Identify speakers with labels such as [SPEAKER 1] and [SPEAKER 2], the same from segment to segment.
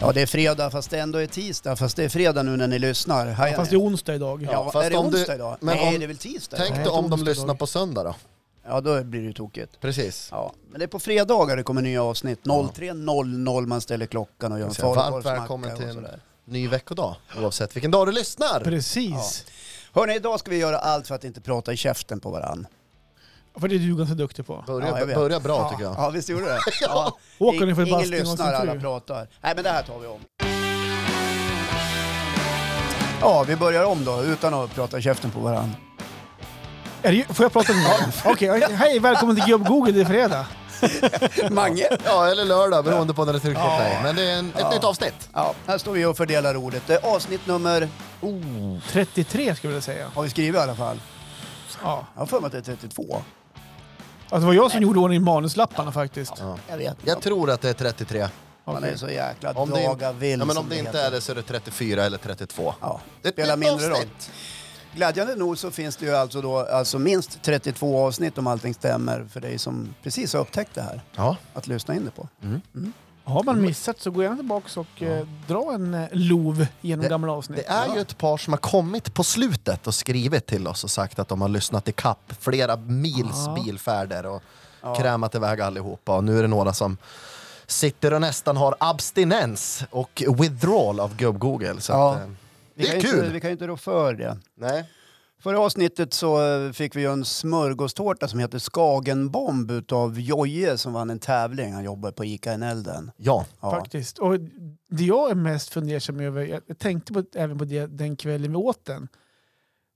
[SPEAKER 1] Ja, det är fredag fast det ändå är tisdag, fast det är fredag nu när ni lyssnar. Hajar
[SPEAKER 2] Ja, fast det
[SPEAKER 1] ni?
[SPEAKER 2] är onsdag idag.
[SPEAKER 1] Ja,
[SPEAKER 2] Ja.
[SPEAKER 1] fast
[SPEAKER 3] fast
[SPEAKER 1] är det
[SPEAKER 3] om du-
[SPEAKER 1] onsdag idag?
[SPEAKER 3] men
[SPEAKER 1] Nej,
[SPEAKER 3] om-
[SPEAKER 1] det är väl tisdag?
[SPEAKER 3] Tänk
[SPEAKER 1] idag?
[SPEAKER 3] dig om de
[SPEAKER 2] onsdag
[SPEAKER 3] lyssnar
[SPEAKER 2] dag.
[SPEAKER 3] på söndag då.
[SPEAKER 1] Ja, då blir det ju tokigt.
[SPEAKER 3] Precis.
[SPEAKER 1] Ja, men det är på fredagar det kommer nya avsnitt. 03.00 man ställer klockan och gör en
[SPEAKER 3] Så Varmt
[SPEAKER 1] falukorvsmacka
[SPEAKER 3] välkommen till
[SPEAKER 1] och
[SPEAKER 3] en
[SPEAKER 1] sådär.
[SPEAKER 3] ny veckodag, oavsett vilken dag du lyssnar.
[SPEAKER 2] Precis.
[SPEAKER 1] Hörni, idag ska vi göra allt för att inte prata i käften på varann.
[SPEAKER 2] För det är du ganska duktig på.
[SPEAKER 1] Ja, jag
[SPEAKER 3] Börja,
[SPEAKER 1] vet.
[SPEAKER 3] börja bra tycker jag.
[SPEAKER 1] Ja, visst gjorde det? ja.
[SPEAKER 2] Håkan är för
[SPEAKER 1] Ingen
[SPEAKER 2] bastning och
[SPEAKER 1] lyssnar,
[SPEAKER 2] sin fru.
[SPEAKER 1] alla pratar. Nej, men det här tar vi om. Ja, vi börjar om då, utan att prata i käften på varann.
[SPEAKER 2] Är det, får jag prata nu? Okej, hej välkommen till Gubb Google, det är fredag.
[SPEAKER 1] Mange?
[SPEAKER 3] Ja, eller lördag beroende på när du trycker på play. Men det är en, ett nytt avsnitt.
[SPEAKER 1] Ja, här står vi och fördelar ordet. Det är avsnitt nummer...
[SPEAKER 2] 33 skulle jag säga.
[SPEAKER 1] Har vi skrivit i alla fall?
[SPEAKER 2] Ja.
[SPEAKER 1] Jag har för mig att det är 32.
[SPEAKER 2] Alltså, det var jag som gjorde ordning i manuslapparna faktiskt.
[SPEAKER 1] Jag vet inte.
[SPEAKER 3] Jag tror att det är 33.
[SPEAKER 1] Man är så jäkla
[SPEAKER 3] Om det,
[SPEAKER 1] daga
[SPEAKER 3] in-
[SPEAKER 1] vill
[SPEAKER 3] ja, men
[SPEAKER 1] som
[SPEAKER 3] om det inte
[SPEAKER 1] heter.
[SPEAKER 3] är det så är det 34 eller 32.
[SPEAKER 1] Ja,
[SPEAKER 3] Det är ett
[SPEAKER 1] spelar
[SPEAKER 3] nytt
[SPEAKER 1] mindre roll.
[SPEAKER 3] avsnitt.
[SPEAKER 1] Glädjande nog så finns det ju alltså då alltså minst 32 avsnitt om allting stämmer för dig som precis har upptäckt det här
[SPEAKER 3] Ja.
[SPEAKER 1] att lyssna in det på.
[SPEAKER 3] Mm.
[SPEAKER 2] Har man missat så gå gärna tillbaka och eh, dra en eh, lov genom gamla avsnitt.
[SPEAKER 3] Det är ju ett par som har kommit på slutet och skrivit till oss och sagt att de har lyssnat i kapp flera mils bilfärder och krämat iväg allihopa. Och nu är det några som sitter och nästan har abstinens och withdrawal av gubb-Google. Så
[SPEAKER 1] Ja.
[SPEAKER 3] att, eh,
[SPEAKER 1] Vi
[SPEAKER 3] det
[SPEAKER 1] kan
[SPEAKER 3] är
[SPEAKER 1] ju
[SPEAKER 3] kul!
[SPEAKER 1] Inte, vi kan ju inte rå för det.
[SPEAKER 3] Nej.
[SPEAKER 1] Förra avsnittet så eh, fick vi ju en smörgåstårta som heter Skagenbomb utav Joje som vann en tävling. Han jobbar på Ica Enelden.
[SPEAKER 3] Ja.
[SPEAKER 1] Ja.
[SPEAKER 2] Faktiskt. Och det jag är mest fundersam över, jag jag tänkte på, även på det den kvällen vi åt den.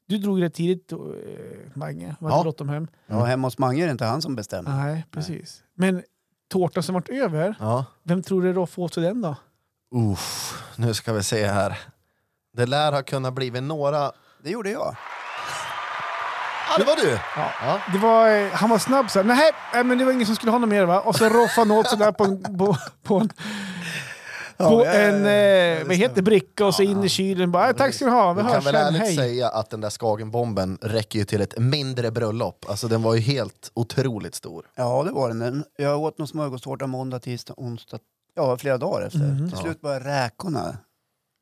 [SPEAKER 2] Du drog det tidigt, eh, Mange. Var
[SPEAKER 3] Ja.
[SPEAKER 2] ja. bråttom hem?
[SPEAKER 3] Mm.
[SPEAKER 1] ja, hemma hos Mange är det inte han som bestämmer.
[SPEAKER 2] Nej, precis. Men tårtan som vart över,
[SPEAKER 3] ja.
[SPEAKER 2] vem tror du Roffe åt för den då?
[SPEAKER 3] Uff, nu ska vi se här. Det lär ha kunnat blivit några...
[SPEAKER 1] Det gjorde jag.
[SPEAKER 3] Ah, det var du! Ja.
[SPEAKER 2] Det var, eh, han var snabb så här, nej, nej, men det var ingen som skulle ha något mer va? Och så roffade han åt sig där på en, på, på en, på
[SPEAKER 1] ja,
[SPEAKER 2] en
[SPEAKER 1] ja,
[SPEAKER 2] eh, vad heter det, bricka och så in i kylen. Bara, "Eh, tack ska du ha, vi
[SPEAKER 3] Vi kan
[SPEAKER 2] hörs
[SPEAKER 3] väl
[SPEAKER 2] sen,
[SPEAKER 3] ärligt
[SPEAKER 2] hej.
[SPEAKER 3] säga att den där Skagenbomben räcker ju till ett mindre bröllop. Alltså den var ju helt otroligt stor.
[SPEAKER 1] Ja, det var det. Men Jag åt någon smörgåstårta måndag, tisdag, onsdag. Ja, flera dagar efter. Till slut började räkorna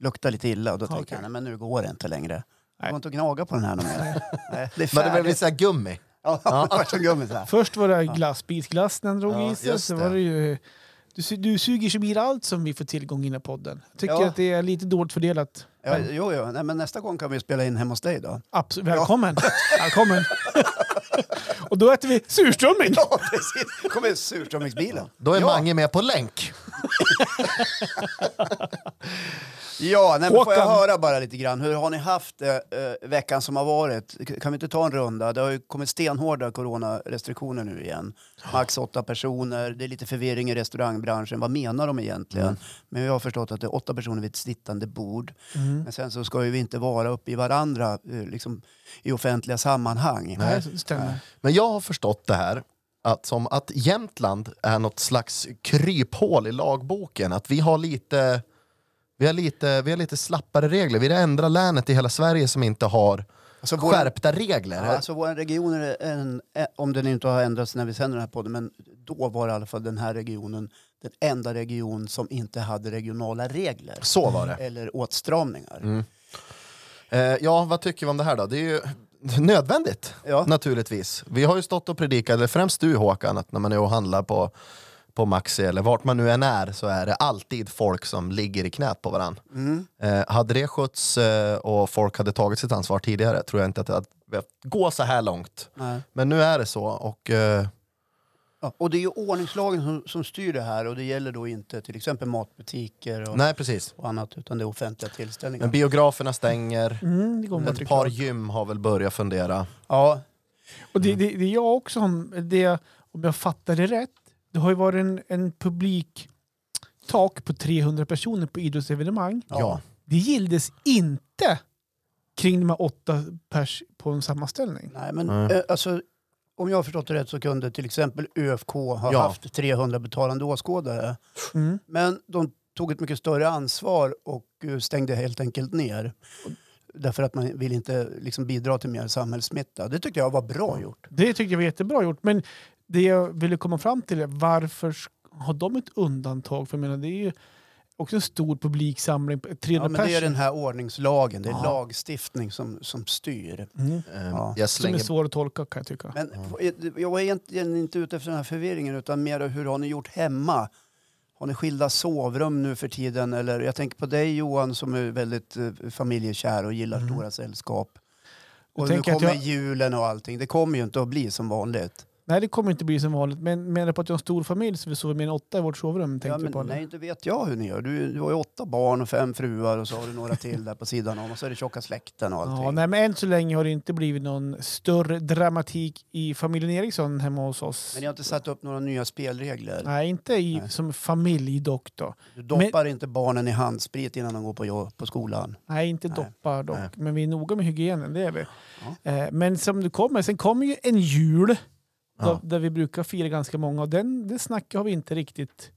[SPEAKER 1] lukta lite illa. Och då tänkte
[SPEAKER 2] Okej.
[SPEAKER 1] jag, nej men nu går det inte längre. Det
[SPEAKER 2] Nej.
[SPEAKER 1] går inte att gnaga på den här någon mer. nej, det är
[SPEAKER 3] Men det blev
[SPEAKER 1] färdigt.
[SPEAKER 3] lite såhär gummi.
[SPEAKER 1] Ja, det var som gummi så här.
[SPEAKER 2] Först var det glassbilsglass när han drog
[SPEAKER 3] Ja,
[SPEAKER 2] i sig.
[SPEAKER 3] just
[SPEAKER 2] Så
[SPEAKER 3] det.
[SPEAKER 2] var det ju, du, su- du suger sig blir allt som vi får tillgång i den här podden. Tycker
[SPEAKER 1] Ja.
[SPEAKER 2] att det är lite dåligt fördelat.
[SPEAKER 1] Ja, jo, jo. Nej, men nästa gång kan vi spela in hemma hos dig då.
[SPEAKER 2] Absolut. Välkommen! Välkommen! och då äter vi surströmming!
[SPEAKER 1] Ja, precis. kommer surströmmingsbilen.
[SPEAKER 3] Då är
[SPEAKER 1] ja.
[SPEAKER 3] Mange med på länk.
[SPEAKER 1] Ja, nej, men får jag
[SPEAKER 2] Håkan.
[SPEAKER 1] höra bara lite grann. Hur har ni haft det eh, veckan som har varit? K- Kan vi inte ta en runda? Det har ju kommit stenhårda coronarestriktioner nu igen. Max åtta personer. Det är lite förvirring i restaurangbranschen. Vad menar de egentligen?
[SPEAKER 2] Mm.
[SPEAKER 1] Men jag har förstått att det är åtta personer vid ett sittande bord.
[SPEAKER 2] Mm.
[SPEAKER 1] Men sen så ska ju vi inte vara uppe i varandra eh, liksom, i offentliga sammanhang.
[SPEAKER 2] Nej, det stämmer.
[SPEAKER 3] Men jag har förstått det här. Att som att Jämtland är något slags kryphål i lagboken. Att vi har lite, vi har lite, vi har lite slappare regler. Vi är det enda länet i hela Sverige som inte har
[SPEAKER 1] Alltså, vår-
[SPEAKER 3] skärpta regler.
[SPEAKER 1] Ja, alltså vår region, är en, eh, om den inte har ändrats när vi sänder den här podden, men då var i alla fall den här regionen den enda region som inte hade regionala regler.
[SPEAKER 3] Så var det.
[SPEAKER 1] Eller åtstramningar.
[SPEAKER 3] Mm. Eh, ja, vad tycker vi om det här då? Det är ju nödvändigt,
[SPEAKER 1] Ja.
[SPEAKER 3] naturligtvis. Vi har ju stått och predikat, eller främst du Håkan, att när man är och handlar på, på Maxi eller vart man nu än är så är det alltid folk som ligger i knät på varandra.
[SPEAKER 1] Mm,
[SPEAKER 3] Eh, hade det skötts eh, och folk hade tagit sitt ansvar tidigare tror jag inte att det hade behövt gå så här långt.
[SPEAKER 1] Nej.
[SPEAKER 3] Men nu är det så och eh,
[SPEAKER 1] Ja, och det är ju ordningslagen som, som styr det här och det gäller då inte till exempel matbutiker och,
[SPEAKER 3] nej precis.
[SPEAKER 1] och annat utan det är offentliga tillställningar.
[SPEAKER 3] Men biograferna stänger,
[SPEAKER 2] Mm, det går mot
[SPEAKER 3] ett par gym har väl börjat fundera.
[SPEAKER 1] ja,
[SPEAKER 2] Och
[SPEAKER 1] Mm.
[SPEAKER 2] det, det, det är jag också, om- det, om jag fattar det rätt, det har ju varit en, en publik tak på 300 personer på idrottsevenemang.
[SPEAKER 3] Ja.
[SPEAKER 2] Det gildes inte kring de här åtta pers på en sammanställning.
[SPEAKER 1] nej men
[SPEAKER 3] Nej.
[SPEAKER 1] eh, alltså om jag har förstått det rätt så kunde till exempel ÖFK ha
[SPEAKER 3] Ja.
[SPEAKER 1] haft 300 betalande åskådare.
[SPEAKER 2] Mm.
[SPEAKER 1] Men de tog ett mycket större ansvar och eh, stängde helt enkelt ner. Därför att man vill inte liksom bidra till mer samhällssmitta. Det tyckte jag var bra gjort.
[SPEAKER 2] Det tyckte jag var jättebra gjort, men det jag ville komma fram till är varför sk- har de ett undantag? För jag menar, det är ju också en stor publiksamling, på 300
[SPEAKER 1] Ja, men det är
[SPEAKER 2] personer.
[SPEAKER 1] den här ordningslagen, det är
[SPEAKER 2] Ja.
[SPEAKER 1] lagstiftning som, som styr.
[SPEAKER 2] Mm.
[SPEAKER 3] Eh,
[SPEAKER 1] Ja.
[SPEAKER 3] Jag
[SPEAKER 2] Som är
[SPEAKER 3] slänger...
[SPEAKER 2] svår att tolka kan jag tycka.
[SPEAKER 1] Men eh, jag är egentligen inte ute efter den här förvirringen utan mer hur har ni gjort hemma? Har ni skilda sovrum nu för tiden? Eller, jag tänker på dig Johan som är väldigt eh, familjekär och gillar stora sällskap. Och nu
[SPEAKER 2] tänker
[SPEAKER 1] kommer
[SPEAKER 2] att Mm. jag-
[SPEAKER 1] julen och allting. Det kommer ju inte att bli som vanligt.
[SPEAKER 2] Nej, det kommer inte bli som vanligt. Men menar du på att jag har en stor familj så vi sover mer än åtta i vårt sovrum? Tänkte
[SPEAKER 1] Ja,
[SPEAKER 2] du
[SPEAKER 1] men,
[SPEAKER 2] på eller?
[SPEAKER 1] nej, inte vet jag hur ni gör. Du, du har ju åtta barn och fem fruar och så har du några till där på sidan om och så är det tjocka släkten och allting.
[SPEAKER 2] Ja, nej, men än så länge har det inte blivit någon större dramatik i familjen Eriksson hemma hos oss.
[SPEAKER 1] Men ni har inte satt upp några nya spelregler?
[SPEAKER 2] Nej, inte i,
[SPEAKER 1] Nej.
[SPEAKER 2] som familj dock då.
[SPEAKER 1] Du doppar inte barnen i handsprit innan de går på, jo- på skolan?
[SPEAKER 2] Nej, inte
[SPEAKER 1] Nej.
[SPEAKER 2] doppar dock.
[SPEAKER 3] Nej.
[SPEAKER 2] Men vi är noga med hygienen, det är vi. Eh, men som du kommer, sen kommer ju en jul
[SPEAKER 3] Ja,
[SPEAKER 2] då, där vi brukar fira ganska många och den, det snacket har vi inte riktigt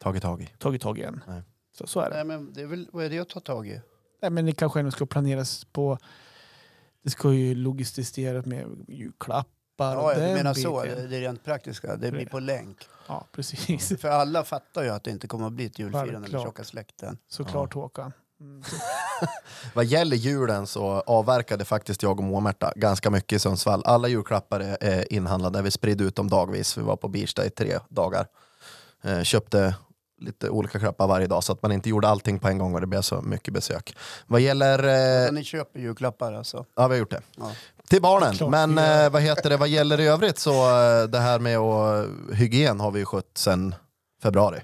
[SPEAKER 3] tagit tag i.
[SPEAKER 2] tagit tag i än.
[SPEAKER 3] Nej.
[SPEAKER 2] Så, så är det.
[SPEAKER 1] Nej, men det är väl, vad är det att ta tag i?
[SPEAKER 2] Nej, men det kanske ändå ska planeras på... Det ska ju logistiseras med julklappar
[SPEAKER 1] Ja,
[SPEAKER 2] och
[SPEAKER 1] jag
[SPEAKER 2] den
[SPEAKER 1] menar så.
[SPEAKER 2] biten.
[SPEAKER 1] Det det är rent praktiska. Det blir på länk.
[SPEAKER 2] Ja, precis.
[SPEAKER 1] För alla fattar ju att det inte kommer att bli ett julfirande med
[SPEAKER 2] Självklart.
[SPEAKER 1] tjocka släkten.
[SPEAKER 2] Såklart Håkan. Mm.
[SPEAKER 3] Vad gäller julen så avverkade faktiskt jag och Moa-Märta ganska mycket i Sundsvall. Alla julklappar är eh, inhandlade. Vi spridde ut dem dagvis. Vi var på Birsta i tre dagar. Eh, Köpte lite olika klappar varje dag så att man inte gjorde allting på en gång och det blev så mycket besök. Vad gäller... eh,
[SPEAKER 1] Så ni köper julklappar alltså?
[SPEAKER 3] Ja, vi har gjort det.
[SPEAKER 1] Ja.
[SPEAKER 3] Till barnen.
[SPEAKER 2] Klart
[SPEAKER 3] Men
[SPEAKER 2] vi gör.
[SPEAKER 3] eh, vad heter det, vad gäller i övrigt så eh, det här med att, eh, hygien har vi ju skött sedan februari.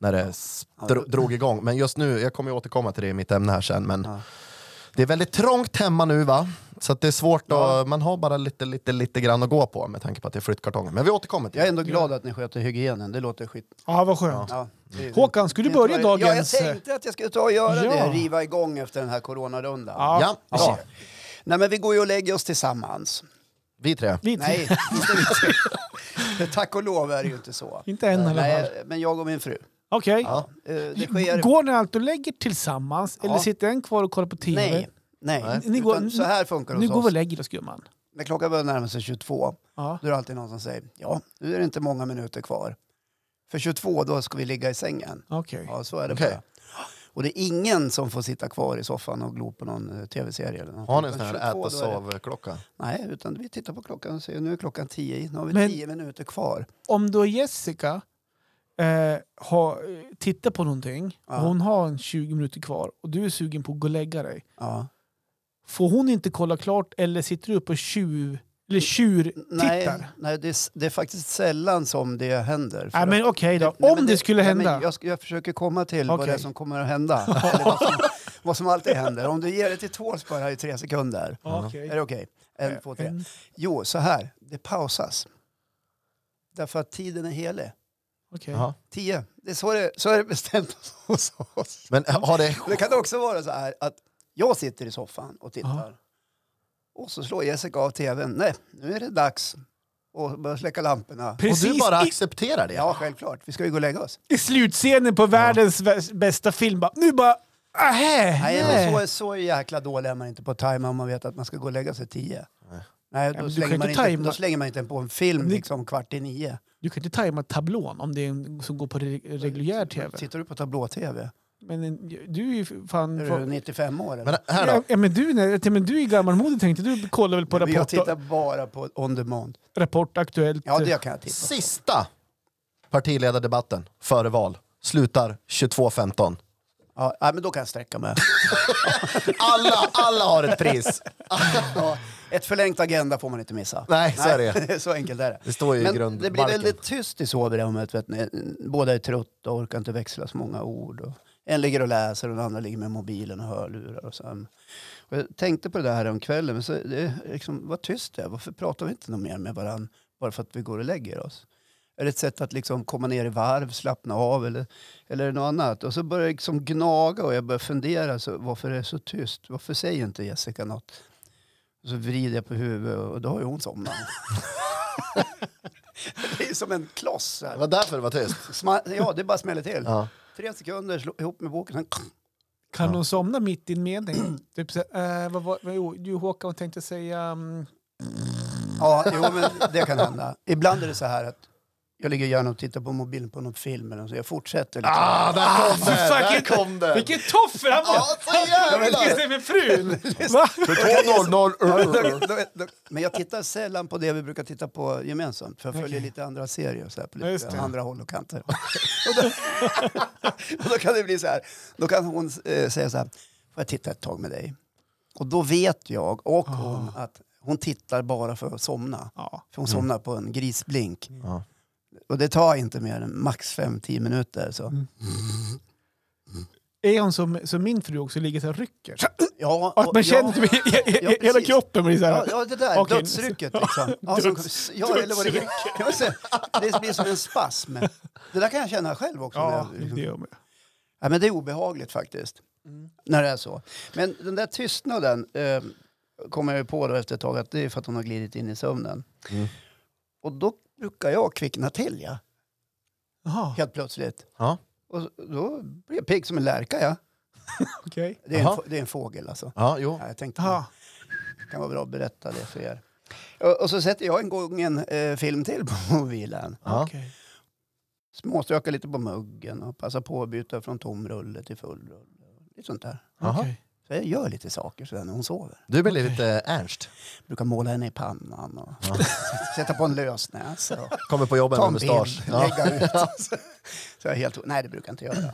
[SPEAKER 3] När det s-
[SPEAKER 1] Ja.
[SPEAKER 3] dro, drog igång. Men just nu, jag kommer ju återkomma till det i mitt ämne här sen. Men
[SPEAKER 1] Ja.
[SPEAKER 3] det är väldigt trångt hemma nu va? Så att det är svårt
[SPEAKER 1] Ja.
[SPEAKER 3] att, man har bara lite, lite, lite grann att gå på med tanke på att det är flyttkartonger. Men vi återkommer till
[SPEAKER 1] Jag är
[SPEAKER 3] det.
[SPEAKER 1] ändå glad att ni sköter hygienen. Det låter skit.
[SPEAKER 2] Ja, vad skönt.
[SPEAKER 1] Ja, det,
[SPEAKER 2] Håkan, ska du
[SPEAKER 1] det-
[SPEAKER 2] börja
[SPEAKER 1] Ja, jag
[SPEAKER 2] dagens... eh,
[SPEAKER 1] tänkte att jag skulle ta och göra
[SPEAKER 2] Ja.
[SPEAKER 1] det. Riva igång efter den här coronarundan.
[SPEAKER 2] Ja,
[SPEAKER 3] Ja,
[SPEAKER 2] vi
[SPEAKER 3] bra.
[SPEAKER 2] ser.
[SPEAKER 1] Nej, men vi går ju och lägger oss tillsammans.
[SPEAKER 3] Vi tre.
[SPEAKER 2] Vi tre.
[SPEAKER 1] Nej, inte vi. Tack och lov är det ju inte så.
[SPEAKER 2] Inte än i alla fall.
[SPEAKER 1] Nej, men jag och min fru.
[SPEAKER 2] Okej.
[SPEAKER 1] Ja. eh, Det sker...
[SPEAKER 2] Går ni alltid och lägger tillsammans
[SPEAKER 1] Ja.
[SPEAKER 2] eller sitter en kvar och kollar på TV?
[SPEAKER 1] Nej, nej.
[SPEAKER 2] Ni går-
[SPEAKER 1] Utan så här funkar det
[SPEAKER 2] Nu
[SPEAKER 1] hos
[SPEAKER 2] går
[SPEAKER 1] oss.
[SPEAKER 2] vi och lägger oss gumman.
[SPEAKER 1] När klockan börjar närma sig 22,
[SPEAKER 2] Ja.
[SPEAKER 1] då är det alltid någon som säger ja, nu är det inte många minuter kvar. För 22, då ska vi ligga i sängen.
[SPEAKER 2] Okej.
[SPEAKER 1] Ja, så är det
[SPEAKER 3] Okej.
[SPEAKER 1] bara. Och det är ingen som får sitta kvar i soffan och glo på någon eh, tv-serie. Eller något.
[SPEAKER 3] Har ni en sån
[SPEAKER 1] Utan
[SPEAKER 3] här
[SPEAKER 1] 22,
[SPEAKER 3] äta
[SPEAKER 1] då är det-
[SPEAKER 3] sov-klocka?
[SPEAKER 1] Nej, utan vi tittar på klockan och säger nu är klockan 10 i, nu har vi
[SPEAKER 2] Men-
[SPEAKER 1] 10 minuter kvar.
[SPEAKER 2] Om då Jessica eh, har, eh, tittar på någonting
[SPEAKER 1] Ja.
[SPEAKER 2] och hon har en 20 minuter kvar och du är sugen på att gå och lägga dig.
[SPEAKER 1] Ja.
[SPEAKER 2] Får hon inte kolla klart eller sitter du upp och tjuv, eller
[SPEAKER 1] Nej,
[SPEAKER 2] tjur-tittar?
[SPEAKER 1] nej det, är, s- det är faktiskt sällan som det händer. För
[SPEAKER 2] Nej,
[SPEAKER 1] att-
[SPEAKER 2] men okej då.
[SPEAKER 1] Nej,
[SPEAKER 2] Om
[SPEAKER 1] men
[SPEAKER 2] det, skulle
[SPEAKER 1] nej,
[SPEAKER 2] hända.
[SPEAKER 1] men jag, sk- jag försöker komma till vad
[SPEAKER 2] Okej.
[SPEAKER 1] det är som kommer att hända. Eller vad, som, vad som alltid händer. Om du ger det till tåls bara i tre sekunder.
[SPEAKER 2] Ja, okej.
[SPEAKER 1] Är det okej? En, två, tre.
[SPEAKER 2] En-
[SPEAKER 1] Jo, så här. Det pausas. Därför att tiden är helig.
[SPEAKER 2] okej.
[SPEAKER 3] Jaha.
[SPEAKER 1] Tio. Det är så, det, så är det bestämt hos oss.
[SPEAKER 3] Men eh, har det...
[SPEAKER 1] Det kan också vara så här att jag sitter i soffan och tittar.
[SPEAKER 2] Ja.
[SPEAKER 1] Och så slår Jessica av tvn. Nej, nu är det dags. Och börjar släcka lamporna.
[SPEAKER 3] Och
[SPEAKER 2] Precis
[SPEAKER 3] du bara
[SPEAKER 2] i,
[SPEAKER 3] accepterar det?
[SPEAKER 1] Ja, självklart. Vi ska ju gå och lägga oss.
[SPEAKER 2] i slutscenen på världens vä- bästa film. Bara, nu bara... Ahä,
[SPEAKER 1] Nej,
[SPEAKER 2] nej.
[SPEAKER 1] men så, så jäkla dålig är man inte på att tajma om man vet att man ska gå och lägga sig tio.
[SPEAKER 3] Nej.
[SPEAKER 1] Nej,
[SPEAKER 2] men
[SPEAKER 1] då,
[SPEAKER 2] du
[SPEAKER 1] slänger
[SPEAKER 2] kan
[SPEAKER 1] man
[SPEAKER 2] inte
[SPEAKER 1] inte,
[SPEAKER 2] tajma.
[SPEAKER 1] då slänger man inte på en film
[SPEAKER 2] Det-
[SPEAKER 1] liksom kvart i nio.
[SPEAKER 2] Du kan inte tajma tablån om det är en som går på re- reguljär tv.
[SPEAKER 1] Tittar du på tablå-tv?
[SPEAKER 2] Men en- du är ju fan...
[SPEAKER 1] Är du
[SPEAKER 2] fan
[SPEAKER 1] 95 år eller?
[SPEAKER 3] Men här då?
[SPEAKER 2] ja, ja, men du, nej, men du är gammalmodig tänkte du. kollar väl på
[SPEAKER 1] Men jag
[SPEAKER 2] Rapport,
[SPEAKER 1] tittar bara på on demand.
[SPEAKER 2] rapport Aktuellt?
[SPEAKER 1] Ja, det kan jag titta på.
[SPEAKER 3] Sista partiledardebatten före val slutar 22.15.
[SPEAKER 1] Ja, nej, men då kan jag sträcka mig.
[SPEAKER 3] Alla, alla har ett pris.
[SPEAKER 1] Ja, ett förlängt agenda får man inte missa.
[SPEAKER 3] Nej, så är det.
[SPEAKER 1] så enkelt är det.
[SPEAKER 3] Det står ju i
[SPEAKER 1] Men det
[SPEAKER 3] grundbalken.
[SPEAKER 1] blir väldigt tyst i sovrummet. Vet ni. Båda är trötta och orkar inte växla så många ord. Och en ligger och läser och den andra ligger med mobilen och hörlurar. Och så. Och jag tänkte på det här om kvällen. Men så, det, är liksom, vad tyst det är. Varför pratar vi inte något mer med varandra bara för att vi går och lägger oss? Är det ett sätt att liksom komma ner i varv, slappna av eller, eller är det något annat? Och så börjar jag liksom gnaga och jag börjar fundera. Så, varför är det så tyst? Varför säger inte Jessica något? Och så vrider jag på huvudet och då har ju hon somnat. det är som en kloss.
[SPEAKER 3] Det
[SPEAKER 1] Här.
[SPEAKER 3] var därför det var tyst.
[SPEAKER 1] Sma- Ja, det bara smäller till.
[SPEAKER 3] Ja.
[SPEAKER 1] Tre sekunder, slå ihop med boken. sen-
[SPEAKER 2] Kan
[SPEAKER 3] Ja.
[SPEAKER 2] hon somna mitt i en mening? typ så, här, eh, vad var, vad, jo, jo, Håkan vad tänkte jag säga... mm,
[SPEAKER 1] Ja, jo, men det kan hända. Ibland är det så här att Jag ligger gärna och tittar på mobilen på någon film eller något, så jag fortsätter. Liksom.
[SPEAKER 3] Ah, där kom den! Där
[SPEAKER 2] vilken-
[SPEAKER 3] kom den!
[SPEAKER 2] Vilken toffel! Han bara...
[SPEAKER 3] Ja, så jävlar!
[SPEAKER 2] med frun! Va?
[SPEAKER 3] 22.00.
[SPEAKER 1] Men jag tittar sällan på det vi brukar titta på gemensamt. För jag följer lite andra serier så här, på
[SPEAKER 2] Ja, just
[SPEAKER 1] lite
[SPEAKER 2] det.
[SPEAKER 1] andra håll och kanter. och, då, och då kan det bli så här. Då kan hon eh, säga så här. Får jag titta ett tag med dig? Och då vet jag
[SPEAKER 2] Ah.
[SPEAKER 1] och hon att hon tittar bara för att somna.
[SPEAKER 2] Ja.
[SPEAKER 1] För hon somnar på en grisblink.
[SPEAKER 3] Ja.
[SPEAKER 1] Och det tar inte mer än max 5-10 minuter. Så.
[SPEAKER 2] Mm. Är hon som, som min fru också, ligger så här och rycker?
[SPEAKER 1] Ja,
[SPEAKER 2] Att man
[SPEAKER 1] och-
[SPEAKER 2] känner
[SPEAKER 1] ja.
[SPEAKER 2] typ i- i- i-
[SPEAKER 1] Ja, precis.
[SPEAKER 2] hela kroppen blir så
[SPEAKER 1] Ja,
[SPEAKER 2] här...
[SPEAKER 1] ja, det där
[SPEAKER 2] Okej.
[SPEAKER 1] dödsrycket liksom. Ja,
[SPEAKER 2] Döds-
[SPEAKER 1] som, ja, eller vad det, heter. Jag vill säga, det blir som en spasm. Det där kan jag känna själv också. när
[SPEAKER 2] Ja,
[SPEAKER 1] jag, liksom-
[SPEAKER 2] det Mm. gör man.
[SPEAKER 1] Ja, men det är obehagligt faktiskt. När det är så. Men den där tystnaden eh, kommer jag ju på då efter ett tag att det är för att hon har glidit in i sömnen.
[SPEAKER 3] Mm.
[SPEAKER 1] Och då brukar jag kvickna till ja,
[SPEAKER 2] Jaha,
[SPEAKER 1] helt plötsligt.
[SPEAKER 3] Ja.
[SPEAKER 1] Och då blir jag pigg som en lärka. Ja.
[SPEAKER 2] okej.
[SPEAKER 1] Det, är en,
[SPEAKER 3] Jaha.
[SPEAKER 1] få- det är en fågel alltså.
[SPEAKER 3] Ja, jo.
[SPEAKER 1] Ja, jag tänkte
[SPEAKER 2] Jaha.
[SPEAKER 1] det kan vara bra att berätta det för er. Och, och så sätter jag en gång en eh, film till på mobilen.
[SPEAKER 3] Ja.
[SPEAKER 2] okej.
[SPEAKER 1] Småstökar lite på muggen och passar på att byta från tom rulle till full rulle. Lite sånt där.
[SPEAKER 3] Jaha.
[SPEAKER 2] Okej.
[SPEAKER 1] Så jag gör lite saker sådär när hon sover.
[SPEAKER 3] Du blir
[SPEAKER 2] Okej.
[SPEAKER 3] lite Ernst.
[SPEAKER 1] brukar måla henne i pannan och sätta på en lösnäsa och
[SPEAKER 3] Kommer på jobbet
[SPEAKER 1] ta
[SPEAKER 3] med
[SPEAKER 1] en bild,
[SPEAKER 3] mustasch. Ja.
[SPEAKER 1] lägga ut. Så, så jag är helt, nej, det brukar jag inte göra.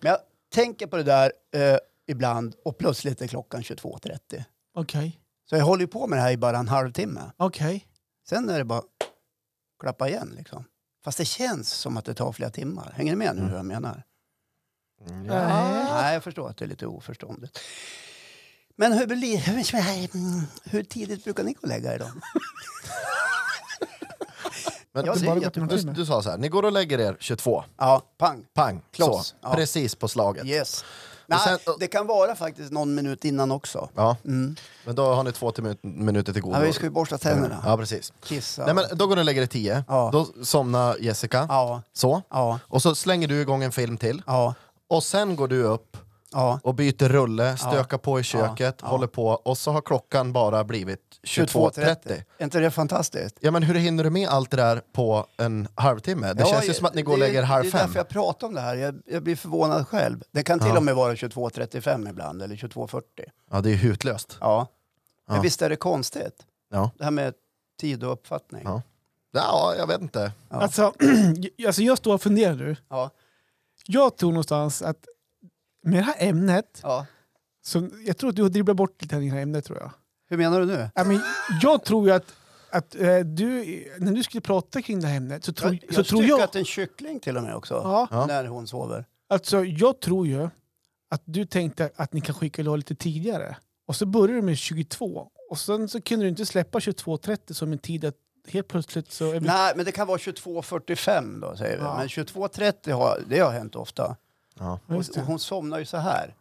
[SPEAKER 1] Men jag tänker på det där eh, ibland och plötsligt är klockan 22.30.
[SPEAKER 2] Okej.
[SPEAKER 1] Så jag håller ju på med det här i bara en halvtimme.
[SPEAKER 2] Okej.
[SPEAKER 1] Sen är det bara klappa igen liksom. Fast det känns som att det tar flera timmar. Hänger ni med nu hur jag menar?
[SPEAKER 2] Nej.
[SPEAKER 1] Nej, jag förstår att det är lite oförståndigt. Men hur, blir- hur tidigt brukar ni gå och lägga er då?
[SPEAKER 3] Men
[SPEAKER 1] Ja,
[SPEAKER 2] Det
[SPEAKER 1] det
[SPEAKER 2] bara
[SPEAKER 1] är
[SPEAKER 2] gått
[SPEAKER 1] jättebra.
[SPEAKER 2] några
[SPEAKER 3] du,
[SPEAKER 2] timmar.
[SPEAKER 3] du sa så här, ni går och lägger er 22.
[SPEAKER 1] Ja, pang.
[SPEAKER 3] Pang,
[SPEAKER 1] Kloss.
[SPEAKER 3] så.
[SPEAKER 1] Ja.
[SPEAKER 3] Precis på slaget.
[SPEAKER 1] Yes. Nej,
[SPEAKER 3] sen-
[SPEAKER 1] det kan vara faktiskt någon minut innan också.
[SPEAKER 3] Ja.
[SPEAKER 1] Mm.
[SPEAKER 3] Men då har ni två till minut- minuter till godo.
[SPEAKER 1] Ja, vi ska ju borsta tänderna,
[SPEAKER 3] Ja, precis.
[SPEAKER 1] kissa.
[SPEAKER 3] Nej, men då går ni och lägger er 10.
[SPEAKER 1] Ja.
[SPEAKER 3] Då somnar Jessica.
[SPEAKER 1] Ja,
[SPEAKER 3] Så.
[SPEAKER 1] ja,
[SPEAKER 3] Och så slänger du igång en film till.
[SPEAKER 1] ja,
[SPEAKER 3] Och sen går du upp
[SPEAKER 1] ja.
[SPEAKER 3] och byter rulle, stökar på i köket, håller på. Och så har klockan bara blivit 22.30.
[SPEAKER 1] Är inte det fantastiskt?
[SPEAKER 3] Ja, men hur hinner du med allt det där på en halvtimme? Det
[SPEAKER 1] Ja,
[SPEAKER 3] känns ju som att ni går och
[SPEAKER 1] det-
[SPEAKER 3] lägger halv
[SPEAKER 1] Det är
[SPEAKER 3] fem.
[SPEAKER 1] därför jag pratar om det här. Jag, jag blir förvånad själv. Det kan till och med vara 22.35 ibland, eller 22.40.
[SPEAKER 3] Ja, det är ju hutlöst.
[SPEAKER 1] Ja. Men
[SPEAKER 3] Ja.
[SPEAKER 1] visst är det konstigt?
[SPEAKER 3] Ja.
[SPEAKER 1] Det här med tid och uppfattning.
[SPEAKER 3] Ja. Ja, jag vet inte.
[SPEAKER 1] Ja.
[SPEAKER 2] Alltså, alltså, jag står och funderar nu.
[SPEAKER 1] Ja.
[SPEAKER 2] Jag tror någonstans att med det här ämnet,
[SPEAKER 1] ja.
[SPEAKER 2] så jag tror att du har dribblat bort lite i det här ämnet tror jag.
[SPEAKER 1] Hur menar du nu?
[SPEAKER 2] Ja, men jag tror ju att, att eh, du, när du skulle prata kring det här ämnet så tror
[SPEAKER 1] Jag,
[SPEAKER 2] jag... Så
[SPEAKER 1] jag
[SPEAKER 2] tror jag
[SPEAKER 1] att en kyckling till och med också,
[SPEAKER 2] ja,
[SPEAKER 3] Ja.
[SPEAKER 1] när hon sover.
[SPEAKER 2] alltså, jag tror ju att du tänkte att ni kan skicka låt lite tidigare. Och så började du med 22. Och sen så kunde du inte släppa 22.30 som en tid att helt plötsligt så... Är vi,
[SPEAKER 1] Nej, men det kan vara 22.45 då säger vi.
[SPEAKER 2] Ja.
[SPEAKER 1] Men 22.30 har, det har hänt ofta.
[SPEAKER 3] Ja.
[SPEAKER 1] Och,
[SPEAKER 2] Just det.
[SPEAKER 1] och hon somnar ju så här.